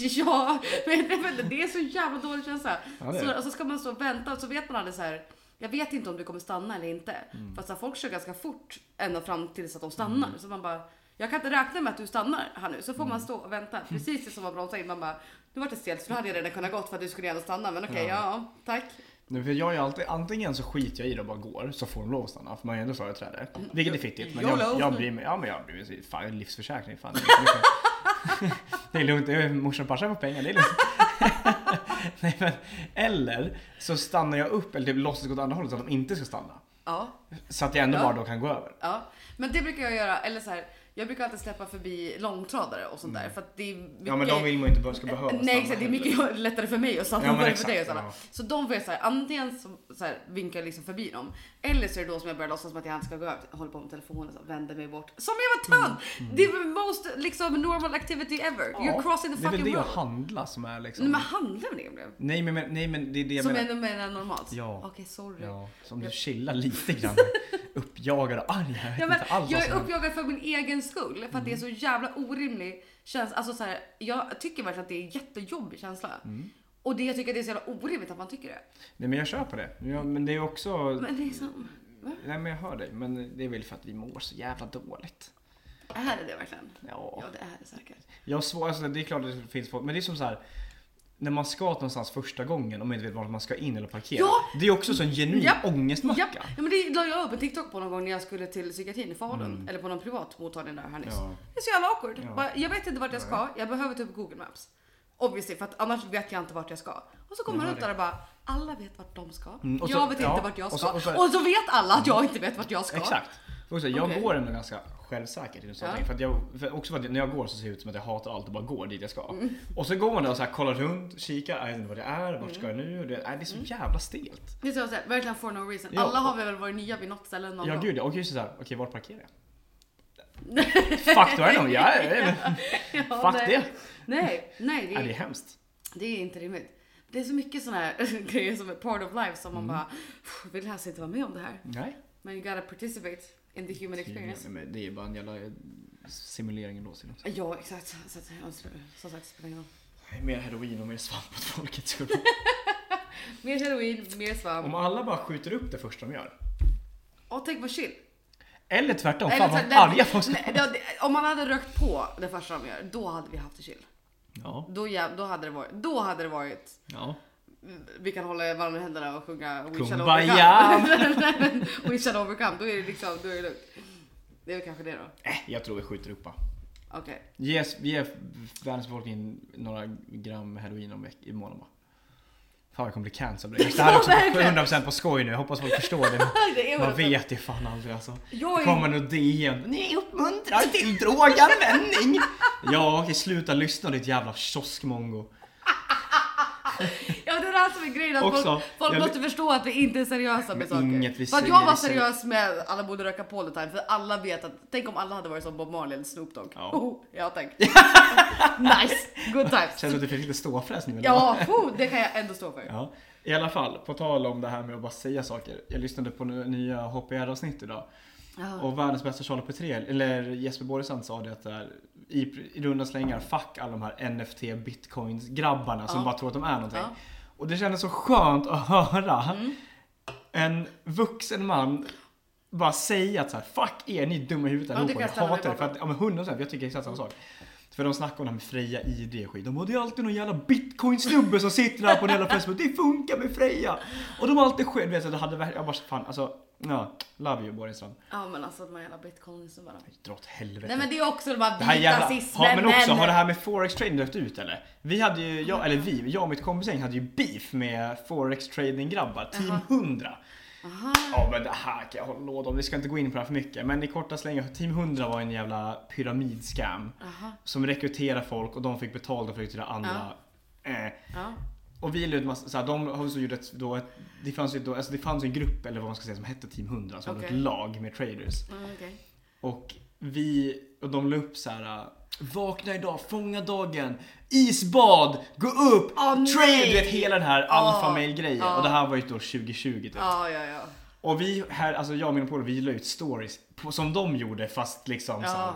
A: men jag vet inte, det är så jävla dålig känsla.
B: Ja, det är
A: så,
B: det.
A: och så ska man stå och vänta och så vet man aldrig så här. Jag vet inte om du kommer stanna eller inte.
B: Mm.
A: För att så här, folk kör ganska fort ända fram tills att de stannar. Så man bara, jag kan inte räkna med att du stannar här nu. Så får
B: Mm.
A: man stå och vänta. Precis det som man bromsar in. Man bara, nu vart det stelt för då hade jag redan kunnat gått för att du skulle gärna stanna. Men okej, ja.
B: Ja.
A: tack.
B: Nej, för jag är alltid, antingen så skiter jag i det och bara går, så får de lov att stanna, för man är ju ändå företrädare. Vilket är fittigt, men
A: YOLO.
B: jag, jag bryr mig. Ja men jag bryr mig. Fan, en livsförsäkring. Fan, det är lugnt. det är lugnt, det är morsan och farsan får pengar, det är lugnt. Nej, men, eller så stannar jag upp, eller typ låtsas gå åt andra hållet så att de inte ska stanna.
A: Ja,
B: Så att jag ändå
A: Ja.
B: bara då kan gå över.
A: ja. Men det brukar jag göra. Eller så här, jag brukar alltid släppa förbi långtradare och sånt där. För att det är mycket...
B: Mm. Ja men de vill man ju inte be- ska behöva
A: Nej exakt, det är mycket lättare för mig att stanna
B: Ja,
A: än
B: men
A: vad det är för
B: exakt,
A: dig. Och stanna.
B: ja.
A: Så de får jag så här, antingen så, så här, vinkar jag liksom förbi dem. Eller så är det då som jag börjar låtsas som att jag inte ska gå över. Håller på med telefonen och så vänder mig bort. Som jag var
B: Mm.
A: tönt! Det är the most liksom normal activity ever. You're crossing the
B: Det är väl
A: fucking
B: det
A: road.
B: att handla som är liksom...
A: Nej men handla med det Emil.
B: Nej men, men- nej, men det är det jag
A: Som
B: menar.
A: jag menar normalt.
B: Ja.
A: Okej sorry.
B: Ja, så om du chillar lite grann. Uppjagad och arg. Jag vet
A: Ja, men
B: inte alls vad
A: jag
B: som
A: är
B: händer. Mm.
A: uppjagad för min egen skull. För att det är så jävla orimlig känsla. Alltså, så här, jag tycker verkligen att det är en jättejobbig känsla.
B: Mm.
A: Och det, jag tycker att det är så jävla orimligt att man tycker det.
B: Nej men jag köper det. Ja, men det är också...
A: Men liksom... Va?
B: Nej men jag hör dig, men det är väl för att vi mår så jävla dåligt.
A: Är det det verkligen?
B: Ja.
A: Ja, det är det säkert.
B: Jag har svår, alltså, det är klart att det finns folk, men det är som så här. När man ska någonstans första gången och man inte vet vart man ska in eller parkera.
A: Ja!
B: Det är också så en genuin
A: Japp.
B: ångestmacka.
A: Ja, ja, men det la jag upp en TikTok på någon gång när jag skulle till psykiatrin i Falun. Eller på någon privat mottagning där här nyss.
B: Mm. Ja.
A: Det är så jävla awkward.
B: Ja.
A: Bara, jag vet inte vart jag ska, jag behöver typ Google Maps. Obviously, för att annars vet jag inte vart jag ska. Och så kommer
B: Jag
A: man
B: hör
A: ut där och bara, alla vet vart de ska.
B: Mm, och så-
A: jag vet
B: ja,
A: inte vart jag
B: och
A: ska.
B: så-
A: Och
B: och
A: så,
B: så-
A: vet alla att jag inte vet vart jag ska.
B: Exakt. Och så, jag
A: Okej.
B: går ändå ganska självsäkert i den
A: Ja.
B: ja. för att jag, för också för att när jag går så ser det ut som att jag hatar allt och bara går dit jag ska.
A: Mm.
B: Och så går man där och så här, kollar runt, kikar, jag vet inte vad det är, vart ska
A: Mm.
B: jag nu? Det, nej, det är så jävla stelt.
A: Det är så jag säger, verkligen for no reason.
B: Ja.
A: Alla har väl varit nya vid något ställe någon
B: Ja
A: gång.
B: gud, och just såhär, okej vart parkerar jag? Fuck, då är det någon, ja, ja, ja, men
A: Ja,
B: fuck
A: nej.
B: det.
A: Nej, nej. Det
B: Nej, det är
A: är,
B: hemskt.
A: det är inte rimligt. Det är så mycket sådana här grejer som är part of life som
B: Mm.
A: man bara, "Pff, vill helst inte vara med om det här.
B: Nej.
A: Men you gotta participate in the human experience.
B: Men Det är bara en jävla eh, simulering ändå. ser det ut.
A: Ja, exakt. Så att, ja, som sagt, det spelar ingen roll.
B: Nej, Mer heroin och mer svamp åt folket skulle
A: Mer heroin, mer svamp.
B: Om alla bara skjuter upp det första de gör.
A: Och tänk vad chill.
B: Eller tvärtom,
A: Eller
B: fan
A: så-
B: vad
A: nej,
B: arga folk ska
A: nej, det- det- Om man hade rökt på det första de gör, då hade vi haft det chill.
B: Ja,
A: Då, jä- då, hade det varit, då hade det varit
B: ja.
A: vi kan hålla varandra i händerna och sjunga We shall
B: Kumbaya.
A: overcome. We shall overcome. Då är det liksom, då är det lugnt. Det är väl kanske det då.
B: Äh, jag tror vi skjuter upp bara.
A: Okej.
B: Ge, ge världens befolkning några gram heroin om veck, i månaden bara. Fan jag kommer bli cancelled. Det här är också
A: verkligen.
B: 100% på skoj nu, jag hoppas folk förstår det.
A: Det är
B: Man
A: väl-
B: vet ju fan aldrig alltså.
A: Jag är-
B: Kommer något DM. Ni uppmuntrar till droganvändning! Ja, okej sluta lyssna ditt jävla kioskmongo.
A: Ja det är det här som är grejen, att
B: Också,
A: folk, folk
B: jag-
A: måste förstå att vi inte är seriösa med
B: Men
A: saker.
B: inget vi
A: för att
B: säger,
A: jag var
B: vi säger-
A: seriös med alla borde röka på all the time, för alla vet att, tänk om alla hade varit som Bob Marley eller Snoop Dogg.
B: Ja.
A: Oh, ja tack. nice, good
B: Känns
A: times.
B: som att du fick lite ståfräs nu eller?
A: Ja, oh, det kan jag ändå stå för.
B: Ja. I alla fall, på tal om det här med att bara säga saker. Jag lyssnade på n- nya HPR-avsnitt idag.
A: Ja.
B: Och världens bästa Charlie Petrel, eller Jesper Borgesson sa det att det är, i, i runda slängar, fuck alla de här NFT bitcoins grabbarna som
A: Ja.
B: bara tror att de är någonting.
A: Ja. Mm.
B: Och det kändes så skönt att höra en vuxen man bara säga att så här, fuck er, ni är dumma i huvudet
A: det
B: allihopa.
A: kan jag
B: Jag
A: ställa mig
B: hatar det. För
A: bakom.
B: att, ja men 100% jag tycker exakt samma sak. För de snackar om det här med Freja ID och skit. De bara, det är alltid någon jävla bitcoin-snubbe som sitter där på en jävla Facebook. Det funkar med Freja! Och de har alltid själv, vet du, det hade varit- jag bara fan alltså, ja, love you Borgenstrand.
A: Ja men alltså de här jävla bitcoinsnubbarna.
B: Dra åt helvete.
A: Nej men det är också de här
B: det här
A: vita
B: jävla,
A: cismen
B: ha, men också, har det här med forex trading dött ut eller? Vi hade ju, jag, eller vi, jag och mitt kompisgäng hade ju beef med forex trading grabbar, team 100. Ja men det här kan jag hålla låda om, vi ska inte gå in på det här för mycket. Men i korta slängar, team 100 var en jävla pyramidskam.
A: Aha.
B: Som rekryterade folk och de fick betalt och flög till det andra. Eh.
A: Ja.
B: Och vi la ut massa, såhär, de har så gjort ett, då ett, det fanns ju då, alltså det fanns ju en grupp eller vad man ska säga som hette team 100, som var
A: Okej.
B: ett lag med traders.
A: Mm, okej.
B: Och vi, och de la upp så här. äh, Vakna idag, fånga dagen, isbad, gå upp,
A: Åh, nej!
B: trade, du vet hela den här alfa male grejen.
A: ja.
B: Och det här var ju då 2020 typ.
A: Ja ja ja.
B: Och vi här, alltså jag och mina polare, vi la ut stories på, som de gjorde fast liksom
A: Ja.
B: så här.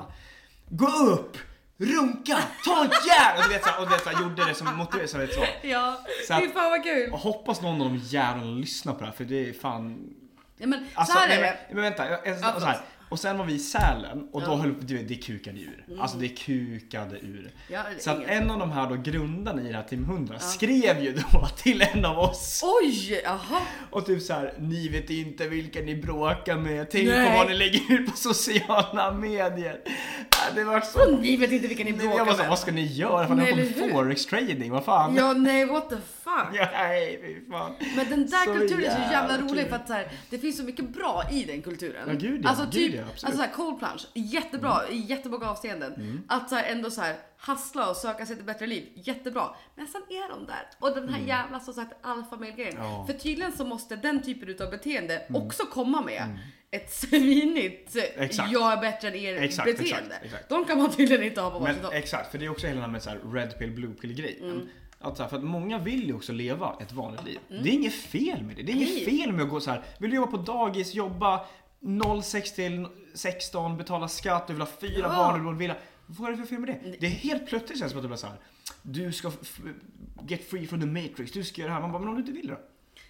B: Gå upp, runka, ta ett järn! Och du vet såhär, och du vet såhär, gjorde det som motivering, så vet så.
A: Ja,
B: Så att-
A: fy fan vad kul.
B: Och hoppas någon av de jävlarna lyssnar på det här för det är fan
A: Ja, men
B: Alltså,
A: så här
B: nej,
A: är
B: men,
A: det.
B: men vänta. Jag, jag,
A: Ja,
B: så här.
A: förlåt.
B: Och sen var vi i Sälen och då
A: Ja.
B: höll du vet, det kukade ur. Alltså det kukade ur.
A: Ja, det är
B: så att
A: inget.
B: en av de här då grundarna i det här Team 100 skrev ju då till en av oss
A: Oj, jaha.
B: och typ så här: ni vet inte vilka ni bråkar med, tänk på
A: Nej.
B: vad ni lägger ut på sociala medier. Ja, Det var så...
A: Och ni vet inte vilka ni bråkar
B: Jag bara, så, här,
A: med.
B: vad ska ni göra? Fan,
A: Nej,
B: ni
A: eller
B: håller på
A: hur?
B: med forex trading, vad fan?
A: Ja, nej what the fuck.
B: Ja, nej, fy fan.
A: Men den där
B: Så
A: kulturen är så jävla
B: jävla
A: rolig
B: kul.
A: för att så här, det finns så mycket bra i den kulturen.
B: Ja, gud ja,
A: alltså
B: gud
A: typ,
B: ja, absolut. Mm.
A: alltså så här, cold plunge, jättebra i jättemånga avseenden. Att så här, ändå så här hustla och söka sig till bättre liv, jättebra. Men sen är de där och den här jävla som sagt alfamilgrejen.
B: Mm. Ja. Mm.
A: För tydligen så måste den typen utav beteende också komma med. Ett svinigt
B: Exakt.
A: jag är bättre än er
B: Exakt,
A: beteende.
B: exakt, exakt.
A: De kan man tydligen inte ha på varsitt
B: Men
A: håll.
B: exakt, för det är också hela den här med så här red pill blue pill grejen.
A: Mm.
B: Att så här, för att många vill ju också leva ett vanligt liv. Det är inget fel med det. Det är inget
A: Nej.
B: fel med att gå så här. vill du jobba på dagis, jobba 06 till 16, betala skatt, du vill ha fyra
A: Ja.
B: barn, du vill ha en villa. Vad är det för fel med det? Det är helt plötsligt känns det som att du blir så här. du ska f- get free from the matrix, du ska göra det här. Man bara, men om du inte vill då?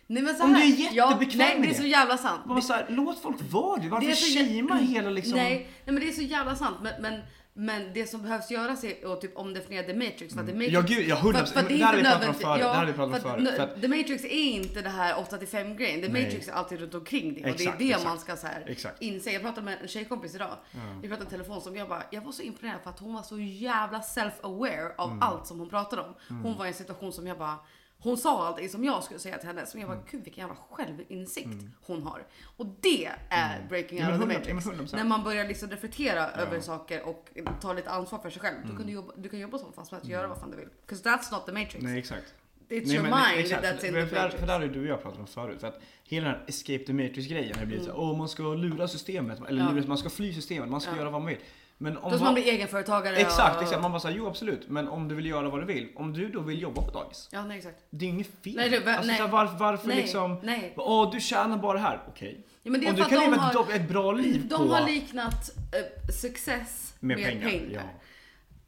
A: Nej, men så
B: Om
A: här,
B: du är jättebekväm
A: nej, det
B: med
A: är
B: det.
A: så jävla sant.
B: Bara så här, låt folk vara det. Varför
A: är så jä-
B: shamea hela liksom...
A: Nej, nej men det är så jävla sant. Men, men, men det som behövs göras är att typ omdefiniera The Matrix. För att The Matrix
B: Ja, gud, ja, hundra
A: för, för att
B: procent.
A: det
B: Det
A: är
B: här hade vi
A: inte
B: pratat
A: nödvändigt.
B: om förut. Det här hade vi pratat om
A: för att
B: förut.
A: nö-
B: För att-
A: The Matrix är inte det här 8 till 5 grejen. The
B: Nej.
A: Matrix är alltid runt omkring det. och det är
B: Exakt,
A: det
B: exakt.
A: man ska så här
B: Exakt.
A: inse. Jag pratade med en tjejkompis idag. Vi pratade i telefon som jag bara, jag var så imponerad för att hon var så jävla self-aware av
B: Mm.
A: allt som hon pratade om. Hon var i en situation som jag bara hon sa allting som jag skulle säga till henne. Som jag
B: Mm.
A: bara, gud vilken jävla självinsikt hon har. Och det är breaking
B: Mm. Ja, men
A: out of the
B: 100%, ja, men
A: matrix.
B: 100%.
A: När man börjar liksom reflektera över saker och ta lite ansvar för sig själv. Då kan
B: Mm.
A: du, jobba, du kan jobba som fast med att göra vad fan du vill. 'Cause that's not the matrix.
B: Nej, exakt.
A: It's
B: Nej,
A: your
B: men
A: mind
B: exakt.
A: that's in
B: för,
A: the
B: för, där,
A: matrix.
B: för där har ju du och jag pratat om förut. För att hela den här escape the matrix grejen har blivit så här, åh man ska lura systemet. Eller
A: Mm. Ja.
B: lura, man ska fly systemet, man ska
A: Ja.
B: göra vad man vill. Men om
A: Då ska
B: vad-
A: man bli egenföretagare.
B: Exakt,
A: och-
B: exakt. Man bara såhär, jo absolut. Men om du vill göra vad du vill. Om du då vill jobba på dagis.
A: Ja, nej exakt.
B: Det är inget fel.
A: Nej, du, va-
B: alltså,
A: nej.
B: Så här, varför varför
A: Nej,
B: liksom,
A: nej.
B: åh du tjänar bara här. Okej.
A: Ja, men det är för
B: Om du
A: att
B: kan
A: de
B: leva ett,
A: har-
B: dob- ett bra liv
A: De
B: på...
A: har liknat eh, success med,
B: Med
A: pengar.
B: pengar, ja.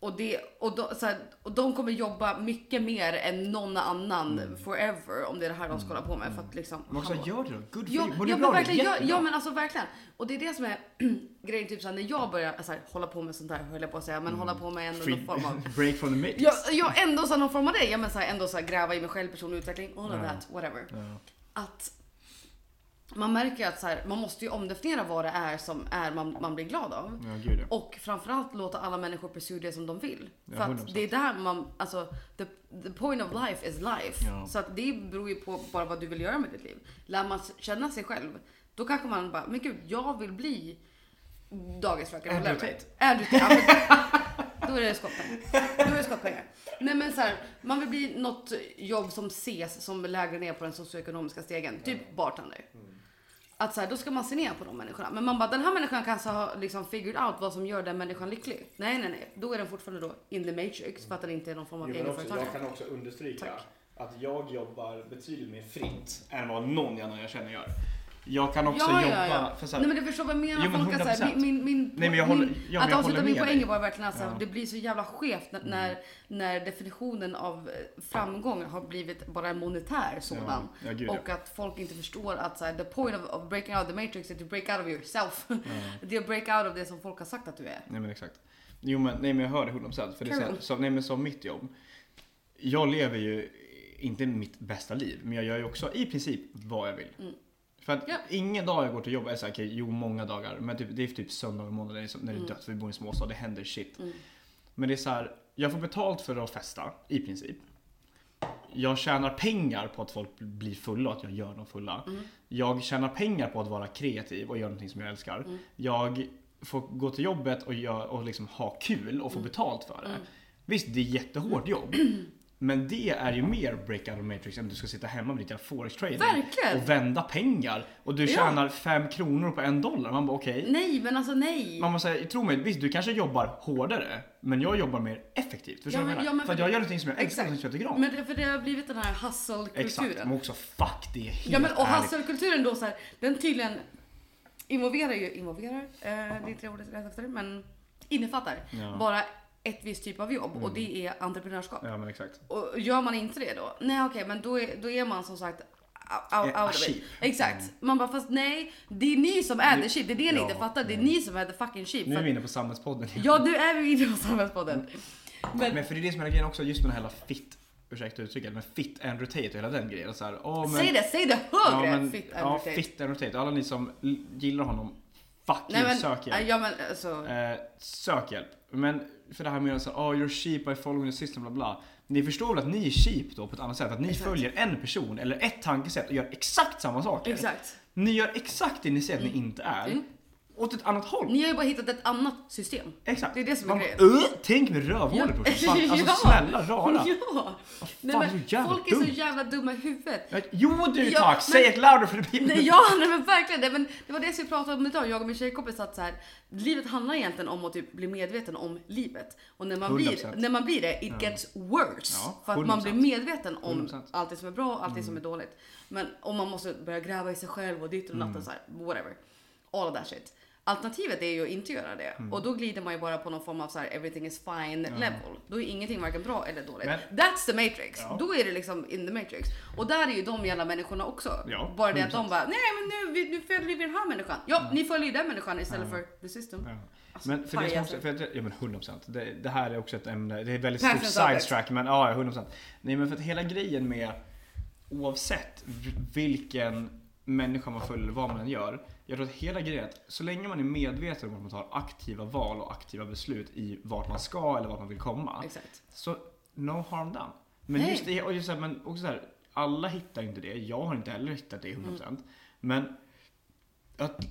A: Och, det, och, de, så här, och de kommer jobba mycket mer än någon annan forever om det är det här de ska hålla på med. För att liksom,
B: Man Mm. också,
A: hallå.
B: gör det då. Good for
A: Ja,
B: you. Mår du
A: ja, men
B: bra av det?
A: verkligen, ja,
B: Jättebra.
A: ja men alltså verkligen. Och det är det som är grejen typ såhär, när jag börjar så här, hålla på med sånt här höll jag på att säga, men hålla
B: Mm.
A: på med ändå någon form av
B: Free, break from the matrix.
A: Ja, ja ändå så här, någon form av det. Ja, men så här, ändå så här, gräva i mig själv, personlig utveckling, all of
B: Ja.
A: that, whatever.
B: Ja.
A: Att man märker att så här, man måste ju omdefiniera vad det är som är man, man blir glad av.
B: Ja, gud ja.
A: Och framförallt låta alla människor pursue det som de vill.
B: Ja,
A: För att
B: 100%.
A: det är där man, alltså the, the point of life is life.
B: Ja.
A: Så att det beror ju på bara vad du vill göra med ditt liv. Lär man känna sig själv, då kanske man bara, men gud, jag vill bli dagisfröken.
B: Andrew
A: whatever.
B: Tate.
A: Andrew Tate. ja, men- Då är det skottpengar. Då är det skottpengar. Nej men så här, man vill bli något jobb som ses som lägre ner på den socioekonomiska stegen. Typ bartender
B: Mm.
A: att så här, då ska man se ner på de människorna. Men man bara, den här människan kanske har liksom figured out vad som gör den människan lycklig. Nej, nej, nej. Då är den fortfarande då in the matrix för att den inte är någon form av
B: Jo, men också, jag
A: egenföretagare.
B: kan också understryka
A: Tack.
B: att jag jobbar betydligt mer fritt än vad någon annan jag känner gör. Jag kan också
A: Ja,
B: jobba...
A: ja, ja.
B: För så här,
A: Nej men du förstår vad jag menar.
B: Jo, men
A: folk att så här,
B: 100%.
A: min, min, min,
B: Nej, men jag håller-
A: min,
B: ja, men
A: att
B: jag
A: avsluta
B: håller
A: min
B: med
A: poäng
B: dig.
A: var verkligen att så här,
B: Ja. Mm.
A: det blir så jävla skevt när, när, när definitionen av eh, framgång har blivit bara en monetär sådan.
B: Ja, ja, gud, ja.
A: och att folk inte förstår att så här, the point of, of breaking out the matrix is to break out of yourself. det är att break out av det som folk har sagt att du är.
B: Nej men exakt. Jo men, nej, men jag hör det 100% för det är så här,
A: Kul.
B: som, nej, men som mitt jobb. Jag lever ju inte mitt bästa liv men jag gör ju också i princip vad jag vill. För att
A: Mm. Ja.
B: ingen dag jag går till jobbet är såhär, okej jo många dagar men typ, det är typ söndag och måndag när det är, som-
A: Mm.
B: när det är dött för vi bor i en småstad, det händer shit. Men det är så här, jag får betalt för att festa i princip. Jag tjänar pengar på att folk blir fulla och att jag gör dem fulla.
A: Mm.
B: Jag tjänar pengar på att vara kreativ och göra någonting som jag älskar.
A: Mm.
B: Jag får gå till jobbet och, gör, och liksom ha kul och få
A: Mm.
B: betalt för det. Visst, det är jättehårt jobb. Men det är ju mer break out of matrix än att du ska sitta hemma med ditt jävla forex trading
A: Verkligen.
B: och vända pengar. Och du
A: Ja.
B: tjänar fem kronor på en dollar. Man bara okej.
A: Nej men alltså nej.
B: Man måste säga, tro mig, visst du kanske jobbar hårdare, men jag jobbar mer effektivt. Förstår
A: Ja,
B: du vad
A: men-
B: jag menar?
A: ja, men
B: för att
A: för-
B: jag gör någonting som jag älskar,
A: Exakt.
B: någonting som jag tycker om.
A: Men det, för det har blivit den här
B: Exakt,
A: hustle-kulturen.
B: men också fuck det är helt
A: Ja, men, och
B: ärligt.
A: hustle-kulturen då så här, den tydligen involverar ju, involverar, eh, det är inte ordet rätt efter, men innefattar
B: Ja. Mm.
A: bara ett visst typ av jobb och det är entreprenörskap.
B: Ja men exakt.
A: Och gör man inte det då? Nej okej, men då är, då är man som sagt out, out
B: Eh,
A: of it.
B: sheep.
A: Exakt. Man bara fast nej, det är ni som är the
B: Det-
A: sheep. Det är det ni
B: ja,
A: inte fattar. Det är
B: nej.
A: ni som är the fucking sheep.
B: Nu är
A: För,
B: vi
A: att-
B: inne på Samhällspodden igen.
A: ja, nu är vi inne på Samhällspodden. Men,
B: Men för det är det som är grejen också, just med den här hela fit, ursäkta uttrycket, men fit Andrew Tate och hela den grejen. Så här, åh, men,
A: säg det, säg det högre! Fit and
B: ja,
A: rotate.
B: fit Andrew Tate. Alla ni som l- gillar honom, fuck
A: Nej
B: you,
A: men,
B: sök hjälp.
A: ja men alltså.
B: Eh, sök hjälp. Men för det här med att säga, oh, you're sheep by following the system, bla bla. Ni förstår väl att ni är sheep då på ett annat sätt? Att ni
A: Exakt.
B: följer en person eller ett tankesätt och gör exakt samma saker.
A: Exakt.
B: Ni gör exakt det ni säger att ni inte är.
A: Mm.
B: Åt ett annat håll.
A: Ni har ju bara hittat ett annat system.
B: Exakt.
A: Det är det som är
B: Man
A: grejen.
B: bara, "Ugh, tänk med rövhålet
A: Ja.
B: brorsan. Fan, Alltså
A: Ja.
B: snälla rara.
A: Ja! Nej,
B: fan, så
A: men,
B: jävla
A: folk är så
B: dumt.
A: jävla dumma i huvudet.
B: Jo du
A: Ja,
B: tack,
A: men-
B: säg ett louder för det blir
A: Nej, ja, nej, men verkligen. Nej, men det var det som vi pratade om idag, jag och min tjejkompis. Att så här, livet handlar egentligen om att typ bli medveten om livet. Och när man, blir,
B: 100%.
A: när man blir det, it gets worse.
B: Ja,
A: för att man blir
B: 100%.
A: medveten om
B: 100%.
A: allt det som är bra och allt det som
B: Mm.
A: är
B: Mm.
A: dåligt. Men om man måste börja gräva i sig själv och ditt och natten så här, whatever. All of that shit. Alternativet är ju att inte göra det
B: Mm.
A: och då glider man ju bara på någon form av så här everything is fine level. Då är ingenting varken bra eller dåligt.
B: Men-
A: That's the matrix.
B: Ja.
A: Då är det liksom in the matrix. Och där är ju de jävla människorna också.
B: Ja,
A: bara det att de bara, nej men nu, vi- nu följer vi den här människan. Ja, ni följer ju den människan istället för the system.
B: Mm. Ja.
A: Alltså,
B: Men för det som
A: pajaser.
B: också, för jag, ja men 100 procent. Det, det här är också ett ämne, det är väldigt
A: Passion
B: stort
A: topic.
B: sidetrack men ja, 100 procent. Nej men för att hela grejen med oavsett v- vilken människa man följer eller vad man än gör. Jag tror att hela grejen är att så länge man är medveten om att man tar aktiva val och aktiva beslut i vart man ska eller vart man vill komma.
A: Exakt.
B: Så no harm done. Men
A: Nej.
B: just det, och just så här, men också så här, alla hittar inte det. Jag har inte heller hittat det 100%.
A: Mm.
B: Men att,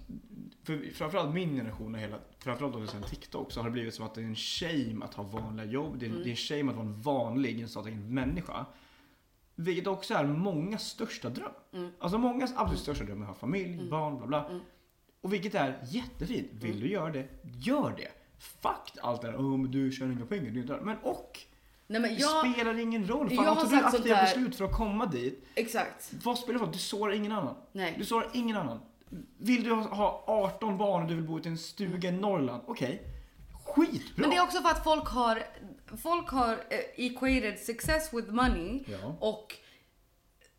B: för, framförallt min generation och hela, framförallt då sen TikTok så har det blivit som att det är en shame att ha vanliga jobb. Det
A: Mm.
B: är, det är en shame att vara en vanlig, en sådan människa. Vilket också är många största dröm.
A: Mm.
B: Alltså mångas absolut största dröm är att ha familj, barn, bla bla.
A: Mm.
B: Och vilket är jättefint. Vill du göra det, gör det. Fuck allt det där, "Åh, men du tjänar inga pengar, du är där. Men och!
A: Nej men
B: Det
A: jag,
B: spelar ingen roll.
A: jag
B: Fan,
A: har
B: jag tog
A: sagt sånt
B: aktiva
A: där-
B: beslut för att komma dit.
A: exakt.
B: Vad spelar det för roll? Du sårar ingen annan.
A: Nej.
B: Du sårar ingen annan. Vill du ha- ha 18 barn och du vill bo i en stuga i Norrland? Okej. Skitbra!
A: Men det är också för att folk har, folk har eh, equated success with money
B: Ja.
A: och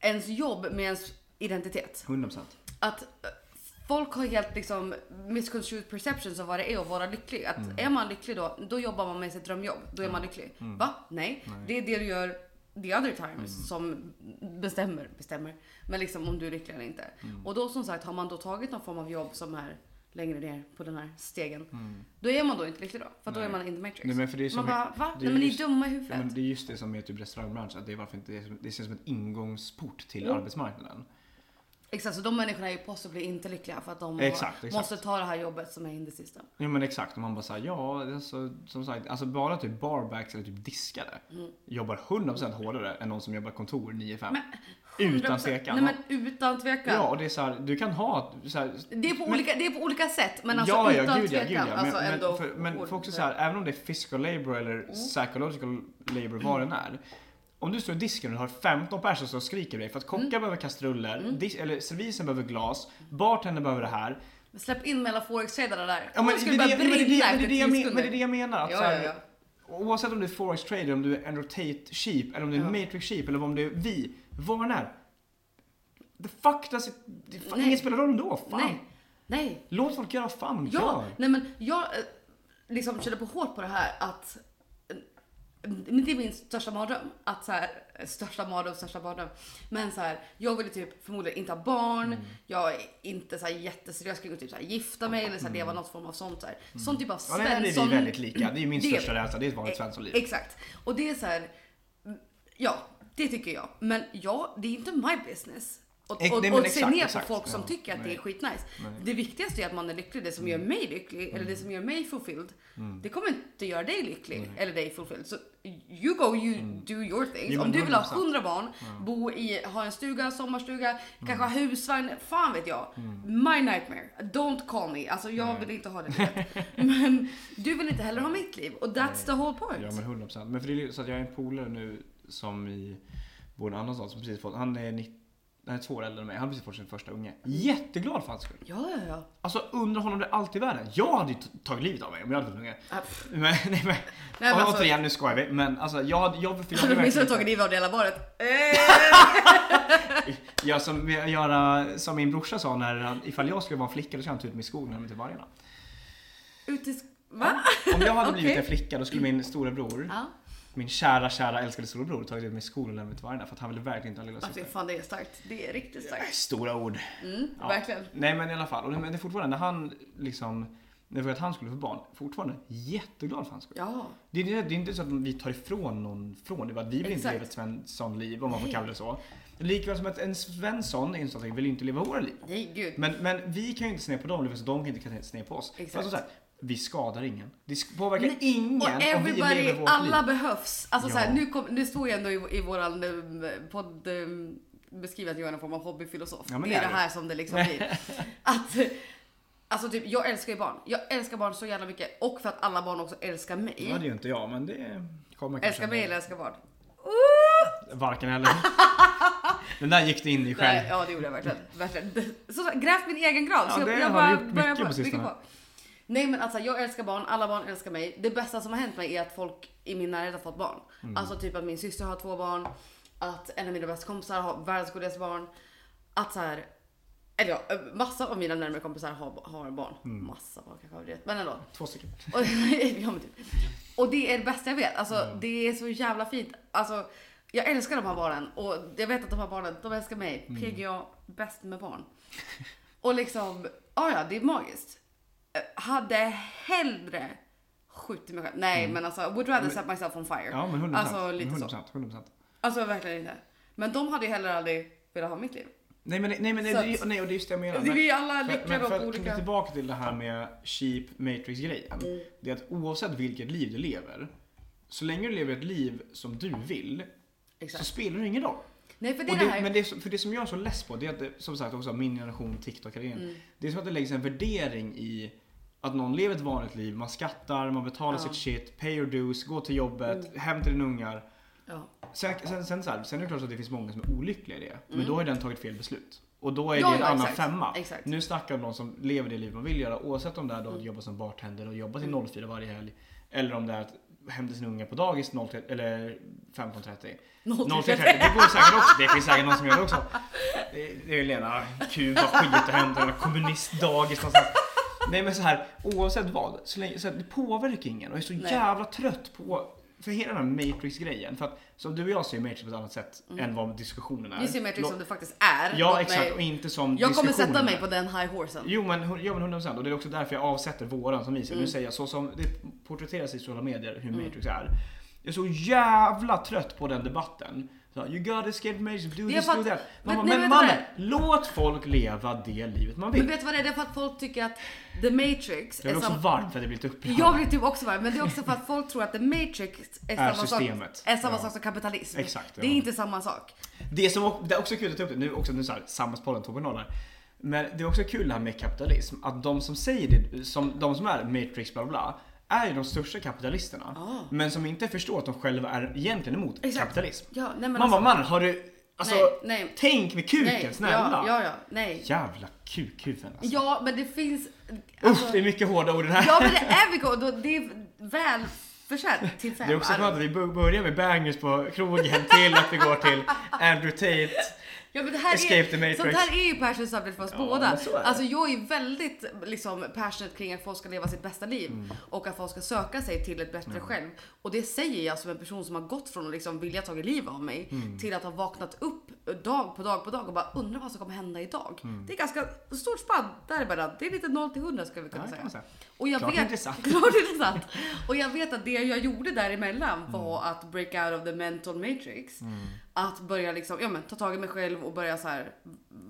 A: ens jobb med ens identitet.
B: 100%.
A: Att eh, folk har helt liksom misconstrued perceptions av vad det är att vara lycklig. Att
B: Mm.
A: är man lycklig då, då jobbar man med sitt drömjobb. Då är man lycklig.
B: Mm.
A: Va? Nej. Det är det du gör the other times som bestämmer, bestämmer. Men liksom om du är lycklig eller inte.
B: Mm.
A: Och då som sagt, har man då tagit någon form av jobb som är längre ner på den här stegen.
B: Mm.
A: Då är man då inte lycklig då. För att då är
B: Nej.
A: man in the matrix.
B: Nej, men för det är
A: man
B: som-
A: bara, va?
B: det är
A: Nej men ni är
B: just-
A: dumma i
B: Ja,
A: huvudet.
B: men det är just det som är typ restaurangbranschen, att det, är varför inte, det, är som- det känns som en ingångsport till
A: Mm.
B: arbetsmarknaden.
A: Exakt, så de människorna är ju possibly inte lyckliga för att de
B: Exakt,
A: har,
B: exakt.
A: måste ta det här jobbet som är in the system.
B: Ja men exakt, och man bara såhär, ja alltså, som sagt, alltså bara typ barbacks eller typ diskare
A: Mm.
B: jobbar 100% hårdare än någon som jobbar kontor 9-5. Utan
A: 100%.
B: tvekan.
A: Nej men utan tvekan.
B: Ja, och det är såhär, du kan ha så här,
A: Det är, på
B: men-
A: olika, det är på olika sätt men alltså
B: ja, ja,
A: utan
B: gud, ja,
A: tvekan.
B: gud, ja. Men,
A: alltså
B: men,
A: ändå Mm.
B: för, men
A: hård-
B: för också så här, även om det är physical labor eller psychological labor, vad den är. Om du står i disken och har 15 personer som skriker dig för att kockar
A: Mm.
B: behöver kastruller, dis- eller servisen behöver glas, bartendern behöver det här.
A: Men Släpp in mellanforextradarna där.
B: Ja, men,
A: De
B: det,
A: skulle
B: är det,
A: börja
B: men, det, är det,
A: brinna
B: men,
A: efter
B: det, är det,
A: tio
B: jag men, men
A: sekunder.
B: det är det jag menar. Att,
A: Ja,
B: så här,
A: ja, ja.
B: Oavsett om du är forex trader, om du är en rotate sheep, eller om du är en
A: Ja.
B: matrix sheep, eller om du är vi, vad den är. The fuck does it, det, fan,
A: Nej.
B: ingen spelar roll ändå, fan.
A: Nej. Nej.
B: Låt folk göra vad fan de
A: Ja.
B: gör.
A: Nej men jag eh, liksom körde på hårt på det här att eh, men det är min största mardröm. Att så här, eh, största mardröm, största mardröm. Men så här, jag ville typ förmodligen inte ha barn.
B: Mm.
A: Jag är inte så här jätteseriös kring att typ så här gifta mig eller så här, leva någon form av sånt. Så här. Sån typ av
B: Mm. Ja, det är vi
A: svensson...
B: väldigt lika. Det är ju min
A: Det är
B: största rädsla, det är ett vanligt
A: E-
B: svenssonliv.
A: Exakt. Och det är så här. Ja, det tycker jag. Men ja, det är inte my business. Och,
B: Ex-
A: och,
B: nej, men
A: och se
B: exakt,
A: ner
B: exakt.
A: på folk som
B: Ja,
A: tycker att det
B: nej.
A: är skitnice.
B: Nej.
A: Det viktigaste är att man är lycklig. Det som
B: Mm.
A: gör mig lycklig eller det som gör mig fulfilled. Det kommer inte göra dig lycklig eller dig fulfilled. Så you go, you do your things.
B: Mm. Jo,
A: Om
B: men
A: du vill ha
B: 100%.
A: hundra barn, bo i, ha en stuga, sommarstuga,
B: Mm.
A: kanske ha husvagn, fan vet jag. My nightmare. Don't call me. Alltså jag vill inte ha det. livet. men du vill inte heller ha mitt liv och that's the whole point.
B: Ja men 100 procent. Men för det är ju så att jag är en polare nu som i, bor i en annan stad som precis fått, han är, 90, han är två år äldre än mig, han har precis fått sin första unge. Jätteglad för hans skull.
A: Ja, ja, ja.
B: Alltså undrar honom det allt i världen. Jag hade ju t- tagit livet av mig om jag hade fått en unge.
A: Ah, pff.
B: Men, nej men,
A: men alltså-
B: återigen nu skojar vi. Men alltså jag hade, jag, för jag,
A: Hade
B: hade
A: du åtminstone
B: verkligen-
A: tagit livet av det hela Eh, baret?
B: jag som, göra, som min brorsa sa när han, ifall jag skulle vara en flicka då skulle han ta ut mig i skogen och hem till typ vargarna.
A: Ut i... sk- Va?
B: Om jag hade blivit
A: Okej.
B: en flicka då skulle min storebror
A: Ja.
B: Min kära, kära älskade storebror tagit ut mig i skolan och lämnat mig till vargarna för att han ville verkligen inte ha lilla
A: Alltså,
B: syster.
A: det- fan det är starkt. Det är riktigt starkt.
B: Stora ord.
A: Mm,
B: Ja.
A: Verkligen.
B: Nej men i alla fall. Och det, men det är fortfarande när han liksom, när vi vet att han skulle få barn, fortfarande jätteglad för hans skull.
A: Ja.
B: Det, är- det, är- det är inte så att vi tar ifrån någon från det. är bara att Vi vill inte
A: Exakt.
B: leva ett Svensson-liv om man får
A: Nej.
B: kalla det så. Likväl som att en Svensson är en sån som vill inte leva våra liv.
A: Nej, gud.
B: Men, men vi kan ju inte se ner på dem, det vill säga de kan inte se ner på oss.
A: Exakt.
B: Alltså, så här, vi skadar ingen. Det sk- påverkar
A: Nej,
B: ingen
A: Och
B: om vi
A: everybody,
B: lever vårt liv.
A: alla behövs. Alltså
B: Ja.
A: så här, nu, kom, nu står jag ändå i, i våran eh, podd eh, beskriver att jag är någon form av hobbyfilosof.
B: Ja, men
A: det är
B: det
A: det
B: är du.
A: här som det liksom blir. Att, eh, alltså typ, jag älskar ju barn. Jag älskar barn så jävla mycket och för att alla barn också älskar mig.
B: Ja, det är ju inte jag, men det kommer kanske...
A: älskar mig eller älskar barn?
B: Varken eller. Den där gick du in i själv. Mm.
A: Nej, ja det gjorde jag verkligen. verkligen. Så, så, grävt min egen grav.
B: Ja,
A: så
B: det
A: jag,
B: har
A: jag
B: du gjort mycket på sistone.
A: Nej men alltså jag älskar barn, alla barn älskar mig. Det bästa som har hänt mig är att folk i min närhet har fått barn.
B: Mm.
A: Alltså typ att min syster har två barn. Att en av mina bästa kompisar har världens godaste barn. Att så här, eller ja, massa av mina närmare kompisar har, har barn.
B: Mm.
A: Massa barn kanske överdrivet, men ändå.
B: Två stycken.
A: Och, ja, men typ. och det är det bästa jag vet. Alltså,
B: Mm.
A: Det är så jävla fint. Alltså, jag älskar de här barnen och jag vet att de här barnen, de älskar mig.
B: Mm.
A: PGA, bäst med barn. Och liksom, ja ja, det är magiskt. Eh, Hade hellre skjutit mig själv. Nej men alltså, would rather set myself on fire.
B: Mm. Ja men 100%.
A: alltså lite så.
B: 100%, 100%.
A: Alltså verkligen inte. Men de hade ju heller aldrig velat ha mitt liv.
B: Nej men, nej, men nej,
A: Så
B: det, är ju-
A: att-
B: nej, och det är just det jag menar.
A: Vi är alla
B: för,
A: lyckliga
B: men
A: då
B: för
A: på
B: att knyta
A: olika...
B: tillbaka till det här med cheap matrix grejen.
A: Mm.
B: Det är att oavsett vilket liv du lever. Så länge du lever ett liv som du vill. Så
A: Exakt.
B: spelar det ingen roll.
A: Nej för det är
B: Och
A: det
B: det,
A: här.
B: men det, som- för det som jag är så less på, det är att det, som sagt också min generation tiktok mm. Det är som att det läggs en värdering i att någon lever ett vanligt liv. Man skattar, man betalar
A: Ja. Mm.
B: sitt shit, pay your dues, gå till jobbet, hem till dina ungar.
A: Ja.
B: Sen, sen, sen, så här, sen är det klart att det finns många som är olyckliga i det. Men då har den tagit fel beslut. Och då är
A: Mm. Ja,
B: det en
A: ja,
B: annan
A: exakt.
B: femma.
A: Exakt. Mm.
B: Nu snackar vi om någon som lever det liv man vill göra. Oavsett om det är då att jobba som bartender och jobba till 04 varje helg. Eller om det är att hämta sin unge på dagis 0, eller 15.30. 03.30, det går säkert också. Det finns säkert någon som gör det också. Det- Det är Lena, Kuba, skit och hämta jävla kommunistdagis någonstans. Nej men så här, oavsett vad. Så länge, så här, det påverkar ingen och jag är så
A: Nej.
B: jävla trött på för hela den här Matrix-grejen. För att som du och jag ser ju Matrix på ett annat sätt än vad diskussionen är.
A: Mm. Vi ser Matrix
B: Låt-
A: som det faktiskt är. Låt
B: Ja
A: mig-
B: exakt och inte som
A: Jag kommer sätta
B: diskussionen
A: mig
B: är.
A: på den high horsen.
B: Jo men, hu- ja, men 100% och det är också därför jag avsätter våran som vi ser. Nu
A: Mm.
B: säger jag så som det porträtteras i sociala medier hur Matrix är. Jag är så jävla trött på den debatten. Så, you gotta escape Matrix, do
A: Det är
B: this,
A: för
B: do
A: att-
B: that.
A: men-
B: Man bara,
A: nej,
B: men
A: vet du vad
B: mannen, låt folk leva det livet man
A: Men
B: vill.
A: vet du vad det är? Det är för att folk tycker att The Matrix
B: Jag
A: är
B: blir också
A: samma...
B: varm för att jag blir lite upprörd.
A: Jag blir typ också varm, men det är också för att folk tror att The Matrix är,
B: Är
A: samma,
B: systemet.
A: sak, är samma
B: Ja.
A: sak som kapitalism.
B: Exakt,
A: Det är
B: ja.
A: inte samma sak.
B: Det som o- det är också kul att ta upp det nu också, nu så här, Samhällspodden 2.0 här. Men det är också kul det här med kapitalism, att de som säger det, som, de som är matrix bla bla, är ju de största kapitalisterna.
A: Ah.
B: Men som inte förstår att de själva är egentligen emot
A: Exakt.
B: kapitalism.
A: Ja, nej men
B: Man bara, mannen har du, alltså
A: nej, nej.
B: tänk med kuken
A: nej,
B: snälla.
A: Ja, ja, ja, nej.
B: Jävla kukhuvuden alltså.
A: Ja, men det finns... alltså-
B: Uff, det är mycket hårda ord i det här.
A: Ja, men det är vi då Det är väl försett till fem
B: Det är också skönt
A: arv.
B: att vi bör- börjar med bangers på krogen till att vi går till Andrew Tate.
A: Ja, men det här
B: Escape
A: är,
B: the Matrix.
A: Sånt här är ju passion subject för oss
B: Ja,
A: båda.
B: men så är det.
A: Alltså jag är ju väldigt liksom, passionate kring att folk ska leva sitt bästa liv
B: Mm.
A: och att folk ska söka sig till ett bättre själv. Och det säger jag som en person som har gått från att liksom vilja ta liv av mig
B: Mm.
A: till att ha vaknat upp dag på dag på dag och bara undrar vad som kommer hända idag.
B: Mm.
A: Det är ganska stort spann däremellan. Det är lite 0 till 100 skulle vi kunna
B: Ja, det kan
A: säga.
B: man säga.
A: Och jag
B: Klart
A: vet,
B: intressant.
A: Klart intressant. Och jag vet att det jag gjorde
B: Mm.
A: däremellan var att break out of the mental matrix. Att börja liksom, ja men ta tag i mig själv och börja så här.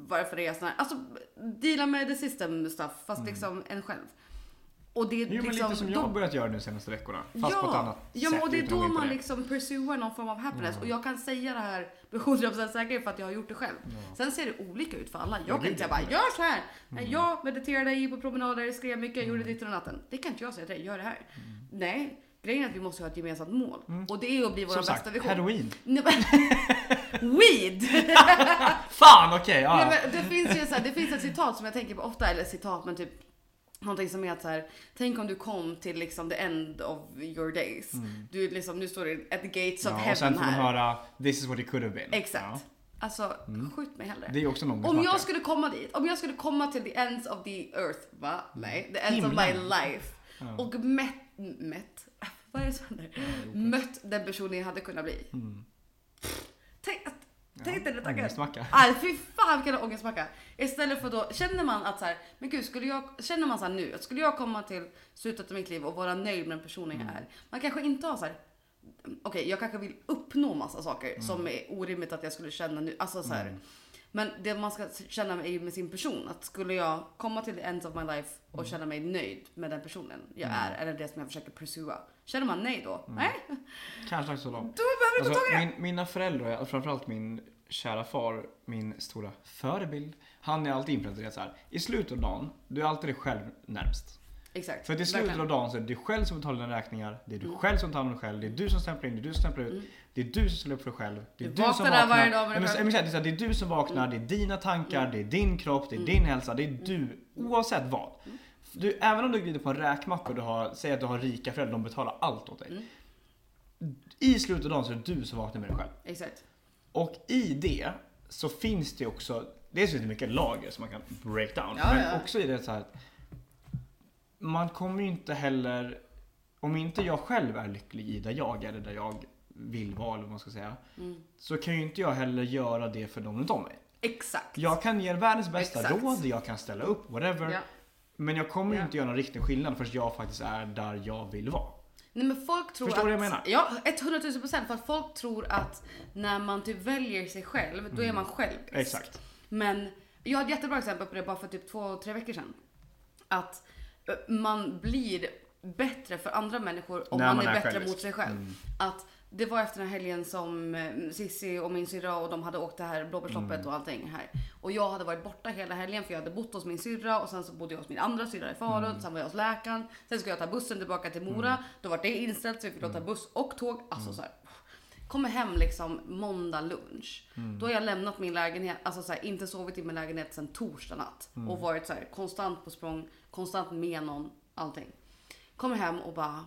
A: varför är jag sån här? Alltså deala med the system stuff fast liksom en själv. Och det är
B: Mm. Jo men
A: liksom,
B: lite som jag har börjat göra nu senaste veckorna. Fast på ett annat
A: ja, men
B: sätt.
A: och det är
B: utan
A: då
B: att Mm. gå in på
A: man
B: det.
A: liksom pursuar någon form av happiness. Och jag kan säga det här med 100% säkerhet för att jag har gjort det själv. Sen ser det olika ut för alla. Jag kan
B: gud,
A: inte säga
B: ja.
A: bara gör så här.
B: Mm.
A: Nej, Jag mediterade, gick på promenader, skrev mycket, gjorde ditt och natten. Det kan inte jag säga till dig, gör det här.
B: Mm.
A: Nej, grejen är att vi måste ha ett gemensamt mål. Och det är att bli vår
B: Som
A: bästa
B: sagt,
A: vision.
B: heroin.
A: Nej, men- Weed!
B: Fan okej! ja.
A: Nej, men det, finns ju så här, det finns ett citat som jag tänker på ofta, eller citat men typ Någonting som är att så här, tänk om du kom till liksom the end of your days. Du är liksom, nu står du at the gates of
B: Mm. ja, och sen
A: heaven
B: får man
A: här.
B: höra this is what it could have been.
A: Exakt.
B: Ja. Mm.
A: Alltså, skjut mig hellre.
B: Det är ju också någon
A: Om
B: snacka.
A: jag skulle komma dit, om jag skulle komma till the ends of the earth, va? Nej, the ends of my
B: Himlen.
A: life. Och mätt, mätt, vad är det som händer? Mött den personen jag hade kunnat bli.
B: Mm.
A: Tänk, att- tänk dig den tanken.
B: Ångestmacka.
A: Aj, fy fan vilken ångestmacka. Istället för då, känner man att så här, men gud, skulle jag, känner man så här nu, att skulle jag komma till slutet av mitt liv och vara nöjd med den personen
B: Mm.
A: jag är. Man kanske inte har så här, okej, jag kanske vill uppnå massa saker
B: Mm.
A: som är orimligt att jag skulle känna nu. Alltså så här. Men det man ska känna är ju med sin person. Att skulle jag komma till the end of my life och
B: Mm.
A: känna mig nöjd med den personen jag är, eller det som jag försöker pursua. Känner man nej då?
B: Mm.
A: Nej,
B: Kanske så långt.
A: då behöver du inte
B: Alltså,
A: ta det.
B: min, mina föräldrar, och framförallt min kära far, min stora förebild. Han är alltid influencer. det är Så här, I slutet av dagen, du är alltid dig själv närmst.
A: Exakt.
B: Alltså, För till slutet
A: Verkligen.
B: av dagen så är det du själv som betalar dina räkningar. Det är du
A: Mm.
B: själv som tar hand om dig själv. Det är du som stämplar in, det är du som stämplar ut.
A: Mm.
B: Det är du som ställer upp för dig själv. Det är
A: Du
B: du, som
A: vaknar där
B: vaknar.
A: varje dag med
B: Nej,
A: dig
B: men,
A: själv. Mm.
B: men, exakt, det, är så här, det är du som vaknar, det är dina tankar, det är din kropp, det är din hälsa. Det är du oavsett vad.
A: Mm.
B: Du, även om du glider på en räkmacka och du har, säger att du har rika föräldrar, de betalar allt åt dig.
A: Mm.
B: I slutet av dagen så är det du som vaknar med dig själv.
A: Exakt.
B: Och i det så finns det också, dels finns det mycket lager som man kan break down.
A: Ja,
B: men
A: ja.
B: också i det så här att man kommer ju inte heller, om inte jag själv är lycklig i där jag är, eller där jag vill vara eller vad man ska säga.
A: Mm.
B: Så kan ju inte jag heller göra det för de runt om mig.
A: Exakt.
B: Jag kan ge er världens bästa
A: Exakt.
B: råd, jag kan ställa upp, whatever.
A: Ja.
B: Men jag kommer ju
A: Ja.
B: inte göra någon riktig skillnad förrän jag faktiskt är där jag vill vara.
A: Nej men folk tror
B: Förstår du
A: att,
B: vad jag menar?
A: Ja, 100 000 procent. För att folk tror att när man typ väljer sig själv, då är man själv
B: Exakt.
A: Men jag har ett jättebra exempel på det bara för typ två, tre veckor sedan. Att eh, man blir bättre för andra människor om
B: När
A: man,
B: man
A: är,
B: är
A: bättre
B: självisk. Mm.
A: mot sig själv. Att det var efter den här helgen som eh, Sissi och min syrra och de hade åkt det här blåbärsloppet
B: Mm.
A: och allting här. Och jag hade varit borta hela helgen för jag hade bott hos min syrra och sen så bodde jag hos min andra syrra i Falun.
B: Mm.
A: Sen var jag hos läkaren. Sen skulle jag ta bussen tillbaka till Mora. Då var det inställt så vi fick
B: Mm.
A: ta buss och tåg. Alltså så här. Kommer hem liksom måndag lunch. Då har jag lämnat min lägenhet, alltså så här, inte sovit i min lägenhet sedan torsdag natt. Och varit så här, konstant på språng, konstant med någon, allting. Kommer hem och bara,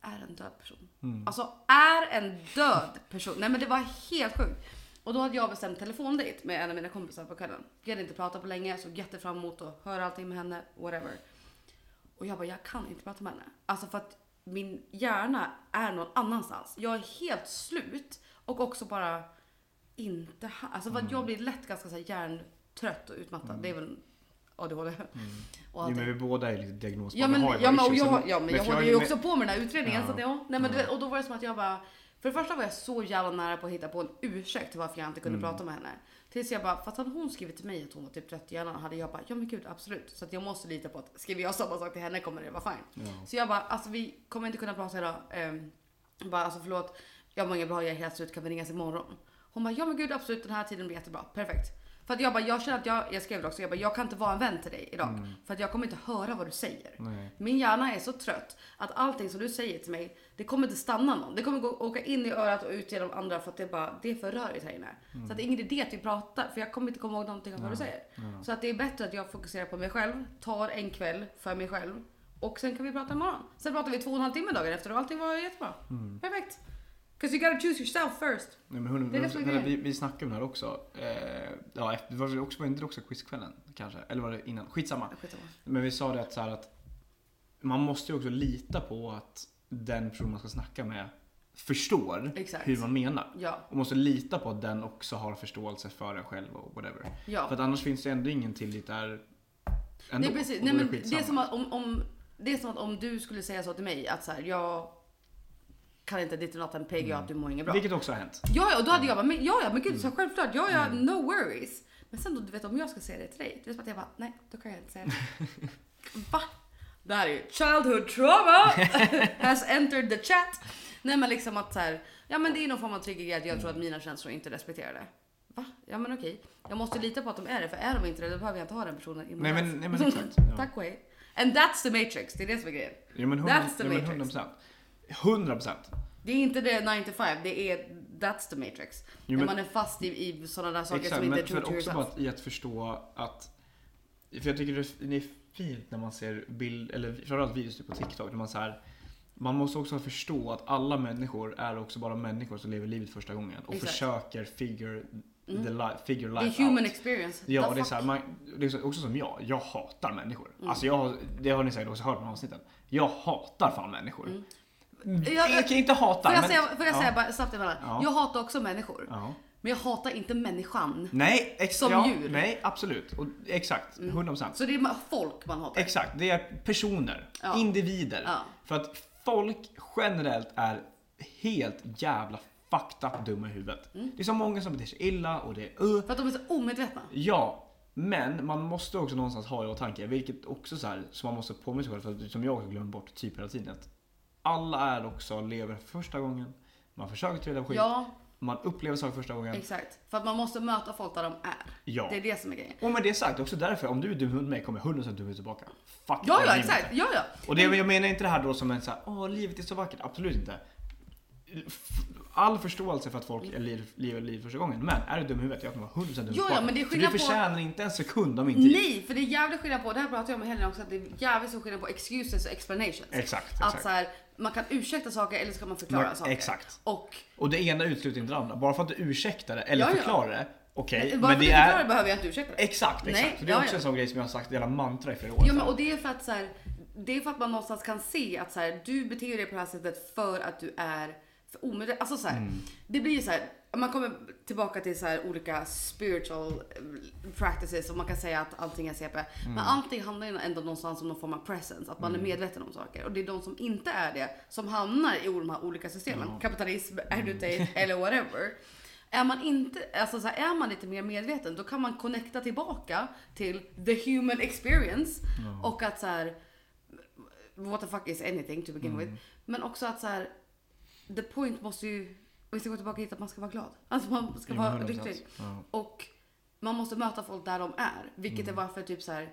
A: är en död person. Alltså är en död person. Nej men det var helt sjukt. Och då hade jag bestämt telefondejt med en av mina kompisar på kvällen. Vi hade inte pratat på länge, såg jättefram emot att höra allting med henne, whatever. Och jag bara, jag kan inte prata med henne. Alltså för att min hjärna är någon annanstans. Jag är helt slut och också bara inte här. Alltså för att jag blir lätt ganska så här hjärntrött och utmattad. Det är väl ADHD. Och
B: Jo,
A: allting.
B: men vi båda är lite diagnos
A: Ja men,
B: vi har ju
A: ja, men,
B: våra
A: och
B: issues.
A: jag, ja, men jag
B: för
A: håller
B: är
A: ju
B: med-
A: också på med den här utredningen.
B: Ja.
A: Så att, ja. Nej, men, du vet, och då var det som att jag bara... För det första var jag så jävla nära på att hitta på en ursäkt till varför jag inte kunde prata med henne. Tills jag bara, fast hade hon skrivit till mig att hon var typ trött i hjärnan hade jag bara, ja men gud absolut. Så att jag måste lita på att skriver jag samma sak till henne kommer det vara fine.
B: Ja.
A: Så jag bara, alltså vi kommer inte kunna prata idag. Ehm, jag bara, alltså förlåt, jag mår inget bra, jag är helt slut, kan vi ringas imorgon? Hon bara, ja men gud absolut, den här tiden blir jättebra, perfekt. För att jag bara, jag känner att jag, jag skrev det också, jag bara, jag kan inte vara en vän till dig idag. För att jag kommer inte höra vad du säger.
B: Nej.
A: Min hjärna är så trött att allting som du säger till mig, det kommer inte stanna någon. Det kommer gå, åka in i örat och ut genom andra för att det är bara, det är för rörigt här inne. Så att det är ingen idé att vi pratar, för jag kommer inte komma ihåg någonting av vad du säger. Så att det är bättre att jag fokuserar på mig själv, tar en kväll för mig själv och sen kan vi prata imorgon. Sen pratar vi två och en halv timme dagen efter och allting var jättebra. Perfekt. 'Cause you gotta choose yourself first.
B: Nej, men hon,
A: Det är det som är grejen.
B: vi, vi snackade om det här också. Eh, ja, efter, var, det också, var inte det också quizkvällen kanske? Eller var det innan? Skitsamma.
A: Skitsamma.
B: Men vi sa det att, så här, att man måste ju också lita på att den person man ska snacka med förstår
A: Exakt.
B: hur man menar.
A: Ja,
B: Och måste lita på att den också har förståelse för en själv och whatever.
A: ja.
B: För att annars finns det ändå ingen tillit där ändå.
A: Nej, precis.
B: Och då
A: Nej,
B: är
A: men det, är
B: skitsamma.
A: som att om, om, det är som att om du skulle säga så till mig att så här, jag kan inte ditt och natten peg jag att du mår inget bra.
B: Mm. Vilket Mm. också har hänt.
A: Ja, ja, och då hade jag bara, men, ja, ja, men gud, så självklart, ja, ja, no worries. Men sen då, du vet, om jag ska säga det till dig, det är som att jag bara, nej, då kan jag inte säga det. Va? Det här är ju childhood trauma has entered the chat. Nej, men liksom att så här, ja, men det är någon form av trigger att jag tror att
B: Mm.
A: mina känslor inte respekterar det. Va? Ja, men okej. Jag måste lita på att de är det, för är de inte det, då behöver jag inte ha den personen i min
B: Nej, men-
A: liv.
B: nej, men exakt, ja.
A: Tack och hej. And that's the matrix, det är det som är grejen.
B: Ja, men 100
A: That's the
B: ja, men
A: matrix.
B: 100 procent. 100 procent.
A: Det är inte det 9 to 5, det är that's the matrix.
B: Jo,
A: När
B: men-
A: man är fast i, i sådana där saker
B: Exakt,
A: som inte är
B: men
A: true to
B: för också
A: yourself.
B: bara att, i att förstå att... För jag tycker det är- det är fint när man ser bild, eller framförallt videos typ på TikTok, där man så här, Man måste också förstå att alla människor är också bara människor som lever livet första gången och
A: Exakt.
B: försöker figure,
A: Mm.
B: the li- figure
A: The
B: life
A: human
B: out.
A: experience.
B: Ja,
A: The
B: det är,
A: fuck? Mm.
B: så här, man, det är så- också som jag. Jag hatar människor. Alltså jag, har- det har ni säkert också hört på de här avsnitten. Jag hatar fan människor. Mm.
A: Jag-
B: Jag, kan inte hata.
A: Mm. Får jag,
B: men-
A: säga, får jag
B: ja.
A: säga bara snabbt emellan?
B: Ja.
A: Jag hatar också människor.
B: Ja.
A: Men jag hatar inte människan.
B: Nej, ex-
A: Som
B: ja,
A: djur. Mm.
B: Nej, absolut. Och, exakt, 100%.
A: Så det är ma- folk man hatar.
B: Exakt, det är personer,
A: Ja.
B: individer.
A: Ja.
B: För att folk generellt är helt jävla fucked up dumma i huvudet.
A: Mm.
B: Det är så många som beter sig illa och det är uh.
A: För att de är så omedvetna.
B: Ja, men man måste också någonstans ha i åtanke, vilket också så här, som man måste påminna sig själv, för att- som jag också glömmer bort typ hela tiden. Att alla är också, lever första gången, man försöker trilla på skit.
A: Ja,
B: Man upplever saker första gången.
A: Exakt. För att man måste möta folk där de är.
B: Ja.
A: Det är det som är grejen.
B: Och med det sagt, det är också därför om du är dum hund med mig kommer hunden som dum hund tillbaka. Fuck
A: Ja, ja,
B: det.
A: exakt. Ja, ja.
B: Och det, jag menar inte det här då som en så här, åh livet är så vackert. Absolut inte. F- All förståelse för att folk är liv, liv, liv första gången. Men är du dum i huvudet, jag kommer vara hundra dum
A: Jo, ja, men det är
B: För du
A: skillnad på-
B: förtjänar inte en sekund av min tid.
A: Nej, för det är jävligt skillnad på, det här pratade jag om i helgen också, att det är jävligt stor skillnad på excuses och explanations.
B: Exakt,
A: Alltså, Att
B: exakt.
A: så här, man kan ursäkta saker eller så kan man förklara
B: Man-
A: saker.
B: exakt.
A: Och
B: Och det ena utesluter inte det andra. Bara för att du ursäktar det eller
A: Ja, ja.
B: förklarar det. Okej,
A: bara
B: men
A: för att
B: det
A: jag förklarar
B: är...
A: behöver jag inte ursäkta det.
B: Exakt, exakt.
A: Nej,
B: Så det är
A: ja,
B: också
A: ja.
B: en sån grej som jag har sagt, jävla mantra i flera år.
A: Jo, men, och det är för att så här, det är för att man någonstans kan se att så här, du beter dig på det här sättet för att du är för omedveten. Alltså så
B: Mm.
A: här, det blir ju så här, man kommer tillbaka till så här olika spiritual eh, practices och man kan säga att allting är CP. Men allting handlar ju ändå någonstans om någon form av presence, att man är medveten om saker. Och det är de som inte är det som hamnar i de här olika systemen. Kapitalism, adultate eller whatever. Är man, inte, alltså så här, är man lite mer medveten då kan man connecta tillbaka till the human experience. Och att så här, what the fuck is anything to begin with. Men också att så här, the point måste ju, vi ska gå tillbaka hit att man ska vara glad. Alltså man ska
B: Jo,
A: vara
B: 100%.
A: riktigt.
B: Ja.
A: Och man måste möta folk där de är. Vilket är varför typ så här.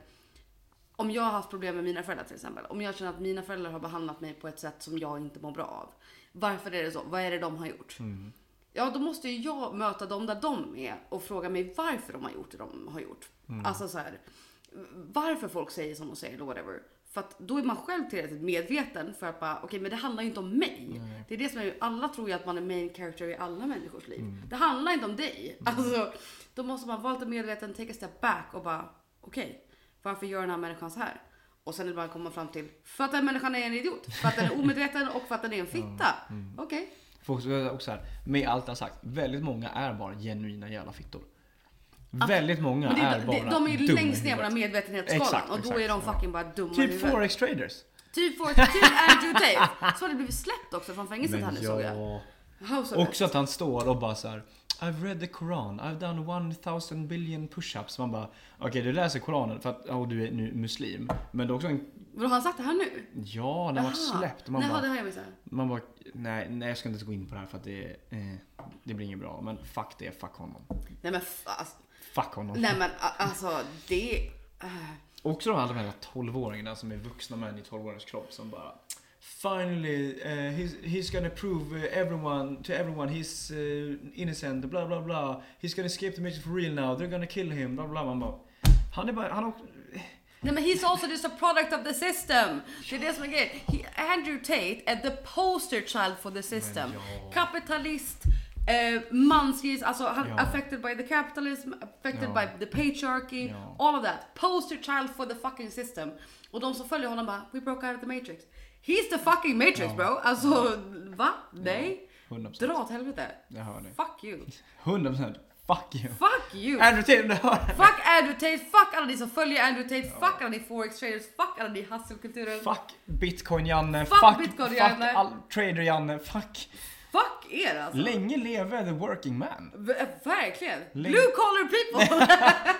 A: Om jag har haft problem med mina föräldrar till exempel. Om jag känner att mina föräldrar har behandlat mig på ett sätt som jag inte mår bra av. Varför är det så? Vad är det de har gjort?
B: Mm.
A: Ja, då måste ju jag möta dem där de är och fråga mig varför de har gjort det de har gjort. Alltså så här, varför folk säger som de säger eller whatever. För att då är man själv tillräckligt medveten för att bara, okej men det handlar ju inte om mig. Det är det som är, alla tror ju att man är main character i alla människors liv. Det handlar inte om dig. Alltså, då måste man vara lite medveten, take a step back och bara, okej, varför gör den här människan så här? Och sen är det bara att komma fram till, för att den människan är en idiot, för att den är omedveten och för att den är en fitta. Okej.
B: Folk som är också här, med allt jag har sagt, väldigt många är bara genuina jävla fittor.
A: Abs-
B: Väldigt många
A: Men det,
B: är
A: är-
B: bara
A: de, de är ju
B: dumma i
A: längst ner på
B: huvudet.
A: den här medvetenhetsskalan
B: Exakt,
A: och då
B: exakt,
A: är de
B: ja.
A: fucking bara dumma i
B: Typ
A: huvudet.
B: forex traders.
A: Typ for, typ Andrew Tate. Så har det blivit släppt också från fängelset här nu såg jag. House arrest.
B: Också att han står och bara så här. I've read the Koran, I've done 1000 billion push-ups. Man bara, okej du läser Koranen för att oh, du är nu muslim. Men det är också en,
A: Vadå, har han sagt det här nu?
B: ja när man varit
A: Aha.
B: släppt. Man
A: Nej, ja, det
B: bara,
A: har jag missat.
B: man bara, nej, nej jag ska inte gå in på det här för att det, eh, det blir inget bra. Men fuck det, fuck honom.
A: Nej men fa- alltså,
B: Fuck honom.
A: nej men a- alltså det... äh.
B: Också de här, de här 12-åringarna som är vuxna män i 12-åringars kropp som bara Finally, eh, he's, he's gonna prove eh, everyone to everyone he's eh, innocent, bla bla bla. He's gonna escape the mission for real now, they're gonna kill him, bla bla. Man bara, han är bara, han har också...
A: Nej men he's also just a product of the system. Det är det som är grejen. He- Andrew Tate är the poster child for the system.
B: Men ja.
A: Kapitalist, eh, mansgris, alltså han
B: Ja.
A: affected by the capitalism, affected
B: Ja.
A: by the patriarchy,
B: Ja.
A: all of that. Poster child for the fucking system. Och de som följer honom bara, we broke out of the matrix. He's the fucking matrix
B: Ja.
A: bro. Alltså va? Nej.
B: 100%.
A: Dra åt helvete.
B: Jag hör dig.
A: Fuck you.
B: 100% fuck you.
A: Fuck you.
B: Andrew Tate, om du hör det här.
A: Fuck Andrew Tate, fuck alla ni som följer Andrew Tate, fuck alla ni forex traders, fuck alla ni hustle-kulturen.
B: Fuck bitcoin-Janne,
A: Fuck
B: fuck,
A: Bitcoin-Janne.
B: fuck all, trader-Janne, fuck.
A: Fuck er alltså!
B: Länge leve the working man.
A: V- eh, verkligen!
B: Lägg-
A: Blue collar people!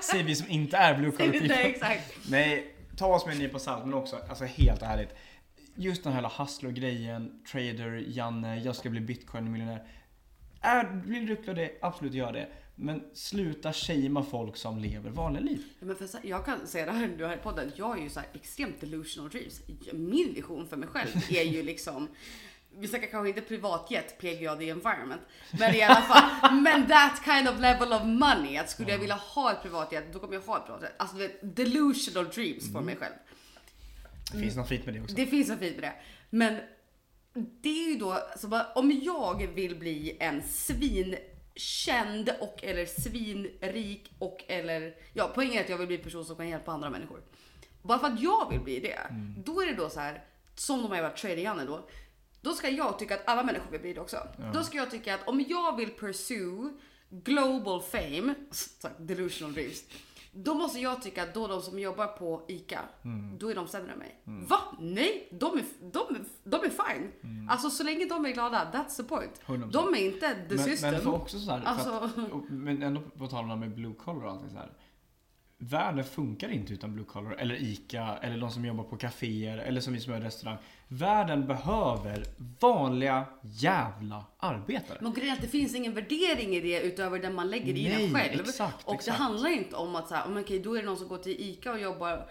B: Säger vi som inte är blue collar
A: Nej,
B: people.
A: exakt.
B: Nej, ta oss med en nypa salt men också, alltså helt ärligt. Just den här hela hustler-grejen, trader, Janne, jag ska bli bitcoin-miljonär. Är, blir du duktig av det, absolut gör det. Men sluta shamea folk som lever vanliga liv.
A: Ja, Men för, så- jag kan säga det här nu här i podden, jag är ju så här extremt delusional dreams. Min vision för mig själv är ju liksom vi snackar kanske inte privatjet, PGA the environment. Men i alla fall, men that kind of level of money. Att skulle jag vilja ha ett privatjet, då kommer jag ha ett privatjet. Alltså du vet, delusional dreams för mig själv.
B: Det finns något fint med det också.
A: Mm. Det finns en fint med det. Men det är ju då, så bara, om jag vill bli en svinkänd och eller svinrik och eller, ja poängen är att jag vill bli en person som kan hjälpa andra människor. Bara för att jag vill bli det, då är det då så här, som de har varit trader då, då ska jag tycka att alla människor vill bli det också. Då ska jag tycka att om jag vill pursue global fame, så här, delusional dreams, då måste jag tycka att då de som jobbar på ICA,
B: Mm.
A: då är de sämre än mig. Va? Nej, de är, de, är- de är fine.
B: Mm.
A: Alltså så länge de är glada, that's the point.
B: 100%.
A: De är inte the
B: Mm. Men,
A: system.
B: men för också så här, för
A: Alltså-
B: att, och, men ändå på tal om det här med blue collar och allting så här. Världen funkar inte utan blue collar eller ICA eller de som jobbar på kaféer eller som vi som är i restaurang. Världen behöver vanliga jävla arbetare.
A: Men grejen är att det finns ingen värdering i det utöver den man lägger i
B: Nej,
A: den själv.
B: exakt,
A: och
B: exakt.
A: det handlar inte om att så här, men okej, då är det någon som går till ICA och jobbar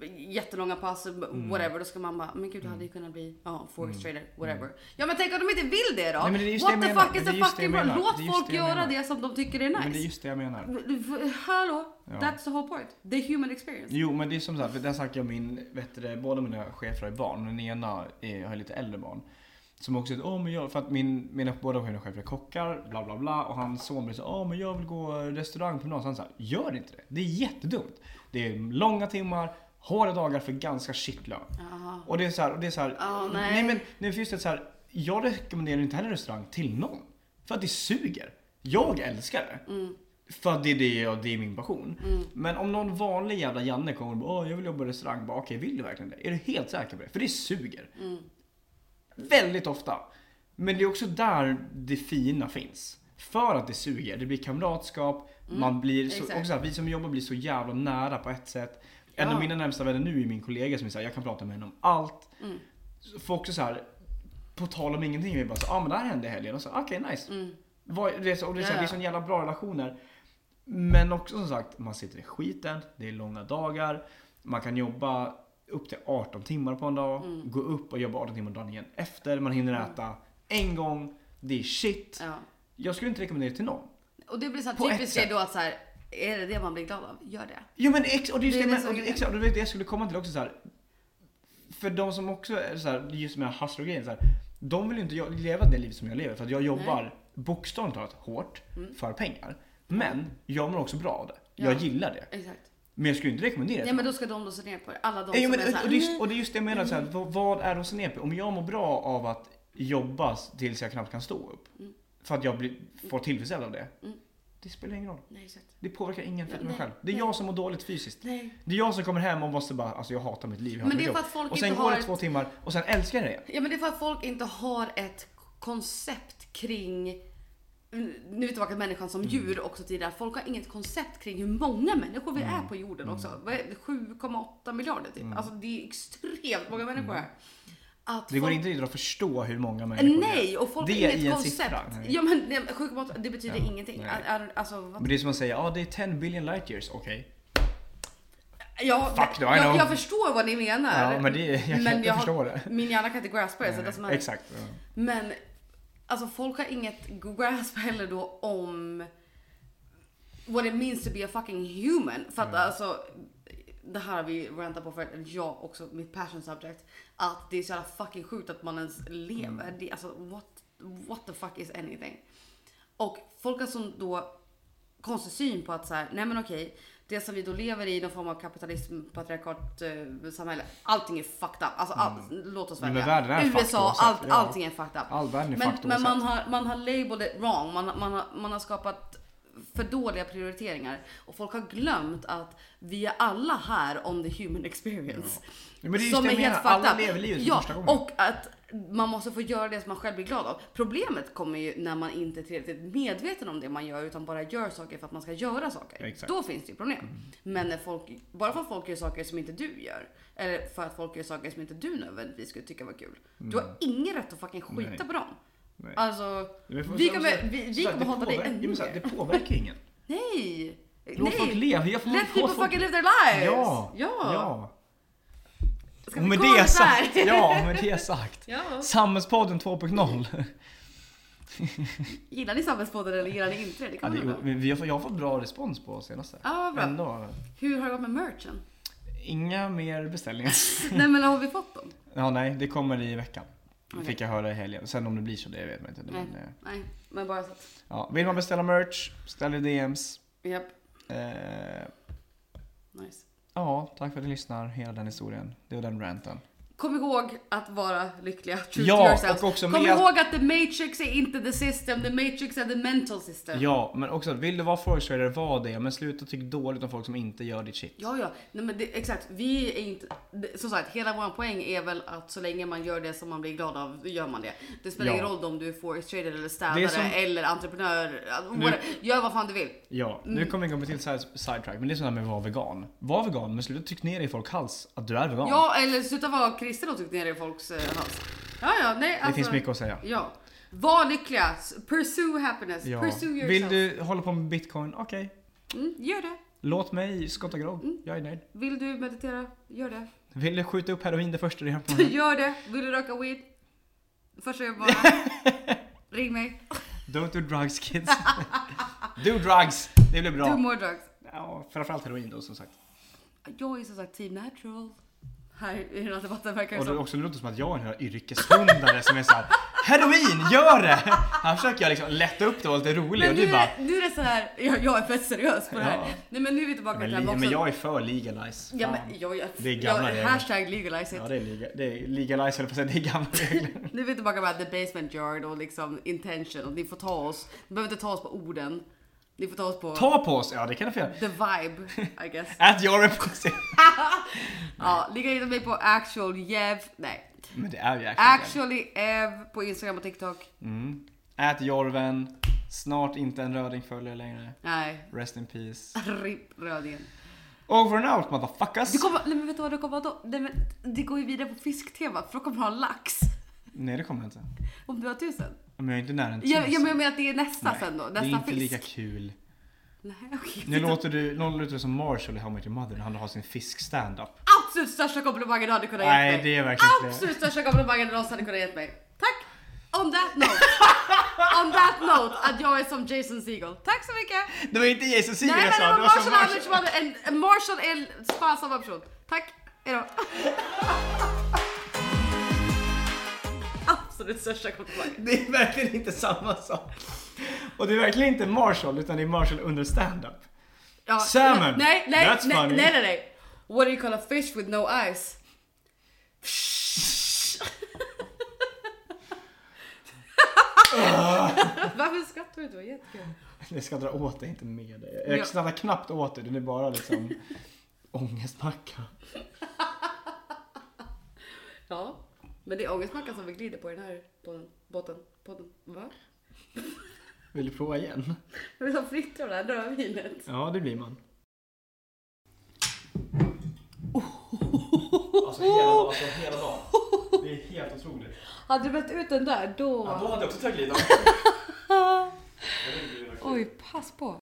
A: eh, jättelånga pass,
B: Mm.
A: whatever. Då ska man bara, men gud, du hade ju kunnat bli ja, forest trader, whatever. Ja, men tänk om de inte vill det då?
B: Nej, men det är just det
A: What
B: jag
A: the
B: menar.
A: fuck is
B: Det är
A: the
B: just det
A: fucking
B: jag
A: problem?
B: menar.
A: Låt
B: Det är just
A: folk
B: det jag
A: göra
B: menar.
A: det som de tycker är
B: Men det är
A: nice.
B: just det jag menar.
A: Hallå?
B: Ja.
A: That's the whole point. The human experience.
B: Jo men det är som så här, för där snackar jag om min, vet du, det, båda mina chefer har ju barn. Den ena är, har lite äldre barn. Som också säger, åh men jag, för att min, mina, båda mina chefer är kockar, bla bla bla. Och hans son blir så åh men jag vill gå restaurangpromenad. Så han säger, gör inte det. Det är jättedumt. Det är långa timmar, hårda dagar för ganska shit
A: Jaha.
B: Och det är så här, och det är så här,
A: Åh, nej.
B: men nu finns det så här, jag rekommenderar inte heller restaurang till någon. För att det suger. Jag älskar det.
A: Mm,
B: För att det är det jag, det är min passion. Men om någon vanlig jävla Janne kommer och bara, Åh, jag vill jobba i restaurang. Bara, Okej, vill du verkligen det? Är du helt säker på det? För det suger.
A: mm,
B: Väldigt ofta. Men det är också där det fina finns. För att det suger. Det blir kamratskap. Man blir så,
A: Mm, exakt.
B: också så här, vi som jobbar blir så jävla nära på ett sätt. En
A: Ja.
B: av mina närmsta vänner nu är min kollega som är såhär, jag kan prata med henne om allt.
A: Mm.
B: Så Folk så här, på tal om ingenting, vi bara så, ah, men det här hände i helgen. Och så, okej nice.
A: mm.
B: Vad, det är så, och det är så här,
A: Ja,
B: det
A: ja.
B: är sån jävla bra relationer. Men också som sagt, man sitter i skiten, det är långa dagar. Man kan jobba upp till 18 timmar på en dag.
A: Mm.
B: Gå upp och jobba 18 timmar dagen igen efter. Man hinner äta en gång. Det är shit.
A: Ja.
B: Jag skulle inte rekommendera det till någon.
A: Och det blir så här
B: På ett
A: typiskt det
B: sätt.
A: då att så här, är det det man blir glad av? Gör det.
B: Jo men ex, och det är just
A: Det är
B: det,
A: det
B: men,
A: som
B: och det,
A: är grejen.
B: exakt, och det var det jag skulle komma till också så här. För de som också är så här, just med hustle-grejen så här. De vill ju inte jag- leva det liv som jag lever för att jag jobbar bokstavligt talat hårt för pengar. Men jag mår också bra av det.
A: Mm. Ja.
B: Jag gillar det.
A: Exakt.
B: Men jag skulle inte rekommendera det. Eh,
A: Nej men då ska de då se ner på det. Alla de
B: Jo,
A: som
B: men,
A: är så här, "Mm."
B: och, det är just, och det är just det jag menar, så här, vad, vad är det hos en EP? Om jag mår bra av att jobba tills jag knappt kan stå upp.
A: Mm.
B: För att jag blir, får tillfredsställd av det. Det spelar ingen roll.
A: Nej exakt.
B: Det påverkar ingen förutom mig
A: Mm. Nej,
B: själv. Det är
A: nej.
B: jag som mår dåligt fysiskt.
A: Nej.
B: Det är jag som kommer hem och måste bara, alltså jag hatar mitt liv, jag hatar
A: Men det
B: mitt
A: är
B: jobb.
A: för att folk
B: och sen
A: inte
B: går
A: har
B: det två
A: ett-
B: timmar och sen älskar jag det.
A: Ja men det är för att folk inte har ett koncept kring nu är vi tillbaka till människan som
B: Mm.
A: djur också tidigare. Folk har inget koncept kring hur många människor vi
B: Mm.
A: är på jorden också. Vad är det? 7,8 miljarder typ. Alltså det är extremt många människor här. Att
B: Mm. Det går
A: folk- Eh,
B: inte riktigt att förstå hur många människor det
A: Nej
B: är.
A: och folk
B: Det
A: har
B: i
A: inget
B: en
A: koncept.
B: siffra, nej.
A: Ja men nej, 7,8 det betyder
B: Ja,
A: ingenting.
B: nej.
A: Är- Alltså, vad
B: Men det är som att säga, ja ah, det är 10 billion light years, okej.
A: Ja,
B: Fuck
A: men-
B: no, I
A: jag,
B: know.
A: jag förstår vad ni menar.
B: Ja, men det, jag kan
A: Men
B: inte
A: jag har-
B: förstå det. Eh,
A: Min hjärna kan inte graspa det. Så det som är.
B: Exakt. ja.
A: Men alltså folk har inget grasp heller då om what it means to be a fucking human. För att
B: Mm.
A: alltså, det här har vi rantat på förut, eller jag också, mitt passion subject. Att det är så jävla fucking sjukt att man ens lever.
B: Mm.
A: Det, alltså what, what the fuck is anything? Och folk har som då konstig syn på att så här, nej men okej, det som vi då lever i någon form av kapitalism, patriarkat, eh, samhälle, allting är fucked up. Alltså, all, låt oss
B: Mm. Men
A: välja.
B: världen är fucked
A: USA,
B: oavsett,
A: allt,
B: ja.
A: allting är fucked up.
B: All världen är
A: men
B: fucked
A: men man,
B: oavsett.
A: har, man har labeled it wrong. Man, har- man, har, man har skapat för dåliga prioriteringar och folk har glömt att vi är alla här on the human experience.
B: Ja, men det är just det jag menar. Alla lever livet för
A: ja,
B: första gången.
A: Och att man måste få göra det som man själv blir glad av. Problemet kommer ju när man inte är tillräckligt medveten om det man gör utan bara gör saker för att man ska göra saker.
B: Ja, exakt. Mm.
A: Då finns det ju problem. Men när folk, bara för att folk gör saker som inte du gör eller för att folk gör saker som inte du nödvändigtvis skulle tycka var kul. Du
B: Mm.
A: har ingen rätt att fucking skita
B: Nej.
A: på dem.
B: Nej.
A: Alltså,
B: Men får-
A: vi
B: så-
A: kommer,
B: så-
A: vi, vi
B: så här,
A: kommer
B: det
A: hata dig
B: påverkar-
A: ännu
B: ja, men så här,
A: mer.
B: Det påverkar ingen.
A: Nej!
B: Låt folk
A: Nej!
B: leva. Jag får-
A: Let
B: låt
A: people
B: folk-
A: fucking live their lives!
B: Ja!
A: ja.
B: ja.
A: Ska
B: Och
A: vi
B: med
A: call
B: det
A: it där?
B: sagt. Ja, med det sagt.
A: ja.
B: Samhällspodden 2.0.
A: Gillar ni samhällspodden eller gillar ni inte det? Det
B: Ja,
A: kan man
B: det,
A: undra.
B: vi- vi har, fått- jag har fått bra respons på senaste.
A: Ja, vad bra.
B: Ändå.
A: Hur har det gått med merchen?
B: Inga mer beställningar.
A: Nej men har vi fått dem?
B: Ja, nej, det kommer i veckan.
A: Okej.
B: Fick jag höra i helgen. Sen om det blir så, det vet man inte. Men, eh,
A: Nej, men bara så att...
B: ja. Vill man beställa merch, ställ i DMs.
A: Japp,
B: Eh,
A: nice.
B: ja, tack för att ni lyssnar. Hela den historien. Det var den ranten.
A: Kom ihåg att vara lyckliga. True
B: Ja,
A: to yourself.
B: och också
A: Kom
B: med-
A: ihåg att the matrix är inte the system, the matrix är the mental system.
B: Ja, men också vill du vara forestrader, var det. Men sluta tycka dåligt om folk som inte gör ditt shit.
A: Ja, ja. Nej, men det, exakt. Vi är inte... det- Som sagt, hela vår poäng är väl att så länge man gör det som man blir glad av, gör man det. Det spelar
B: Ja.
A: ingen roll om du är forest trader eller
B: Det är
A: städare
B: som-
A: eller entreprenör. Alltså, whatever. Gör vad fan du vill.
B: Ja, nu
A: Mm.
B: kommer vi komma till side- sidetrack, men det är sådär med att vara vegan. Var vegan, men sluta trycka ner i folk hals att du är vegan.
A: Ja, eller sluta vara Christer låg typ nere i folks eh, hals. Ja, ja, nej alltså-
B: Det finns mycket att säga.
A: Ja. Var lyckliga. Pursue happiness.
B: Ja.
A: Pursue yourself.
B: Vill du hålla på med bitcoin? Okej.
A: Mm, gör det.
B: Låt mig skotta grov.
A: Mm.
B: Jag är nöjd.
A: Vill du meditera? Gör det.
B: Vill du skjuta upp heroin det första du gör på morgonen?
A: Gör det. Vill du röka weed? Första jag bara. Ring mig.
B: Don't do drugs kids. do drugs! Det blir
A: Do
B: bra.
A: more drugs.
B: Ja, framförallt heroin då som sagt.
A: Jag är som sagt team natural. Här i den här debatten verkar det
B: Och det är
A: som.
B: också det låter som att jag är den här yrkeshundare som är såhär Heroin, gör det! Här försöker jag liksom lätta upp det och vara lite rolig
A: Men
B: och
A: nu,
B: du bara
A: är- nu är det så här. Jag, jag är fett seriös på det här.
B: Ja.
A: Nej men nu är vi tillbaka
B: men,
A: till den här
B: li- men
A: boxen.
B: jag är för legalize.
A: Ja,
B: Fan.
A: men, jag, jag,
B: Det är gamla
A: jag,
B: regler.
A: Hashtag legalize it.
B: ja det är, lega, det är legalize höll jag på att säga, det är gamla regler.
A: Nu är vi tillbaka med the basement yard och liksom intention. Och ni får ta oss. Ni behöver inte ta oss på orden. Ni får ta oss på
B: Ta på oss, ja det kan du få göra.
A: the vibe, I guess.
B: At your reputation.
A: ja, ligga in mig på actual Jev. Nej.
B: Men det är ju actually.
A: Actually Ev på Instagram och TikTok.
B: Mm. Ät Jorven. Snart inte en röding följer längre.
A: Nej.
B: Rest in peace.
A: RIP rödingen.
B: Over and out motherfuckers.
A: Du kommer, nej men vet du vad du kommer då? Nej men det går ju vidare på fisktemat för då kommer du ha lax.
B: Nej det kommer jag inte.
A: Om du har tusen.
B: Men jag är inte nära en
A: Ja, ja
B: tusen.
A: men jag menar att det är nästa
B: Nej,
A: sen då.
B: Det är
A: Nästa
B: inte
A: fisk.
B: lika kul.
A: Nej okej.
B: Nu låter du, nu låter du som Marshall i How I Met Your Mother när han har sin fisk-standup.
A: Absolut största komplimangen du hade kunnat ge mig.
B: Nej det är verkligen inte
A: Absolut största komplimangen du någonsin hade kunnat ge mig. Tack! On that note. On that note att jag är som Jason Segel. Tack så mycket!
B: det. var inte Jesus Sigel
A: Nej
B: jag
A: men det
B: sa,
A: var
B: det var som
A: Marshall
B: Marshall.
A: Anders som hade en, en Marshall är fan samma person. Tack, hejdå. Absolut största komplimangen.
B: Det är verkligen inte samma sak. Och det är verkligen inte Marshall utan det är Marshall under stand-up.
A: Ja,
B: Salmon.
A: Nej, nej,
B: That's
A: nej,
B: funny.
A: nej, nej, nej. What do you call a fish with no eyes? Varför skrattar du? Det var jättekul.
B: Jag ska dra åt dig, inte med dig.
A: Ja.
B: Jag skrattar knappt åt dig, det är bara liksom ångestmacka.
A: Ja, men det är ångestmackan som vi glider på i den här podden. Botten. Podden. Va?
B: Vill du prova igen?
A: Jag vill ha fritt av det här rödvinet.
B: Ja, det blir man. Alltså, hela dagen. Det är helt otroligt.
A: Hade du mätt ut den där då...
B: hade jag också tagit lite.
A: Oj, pass på.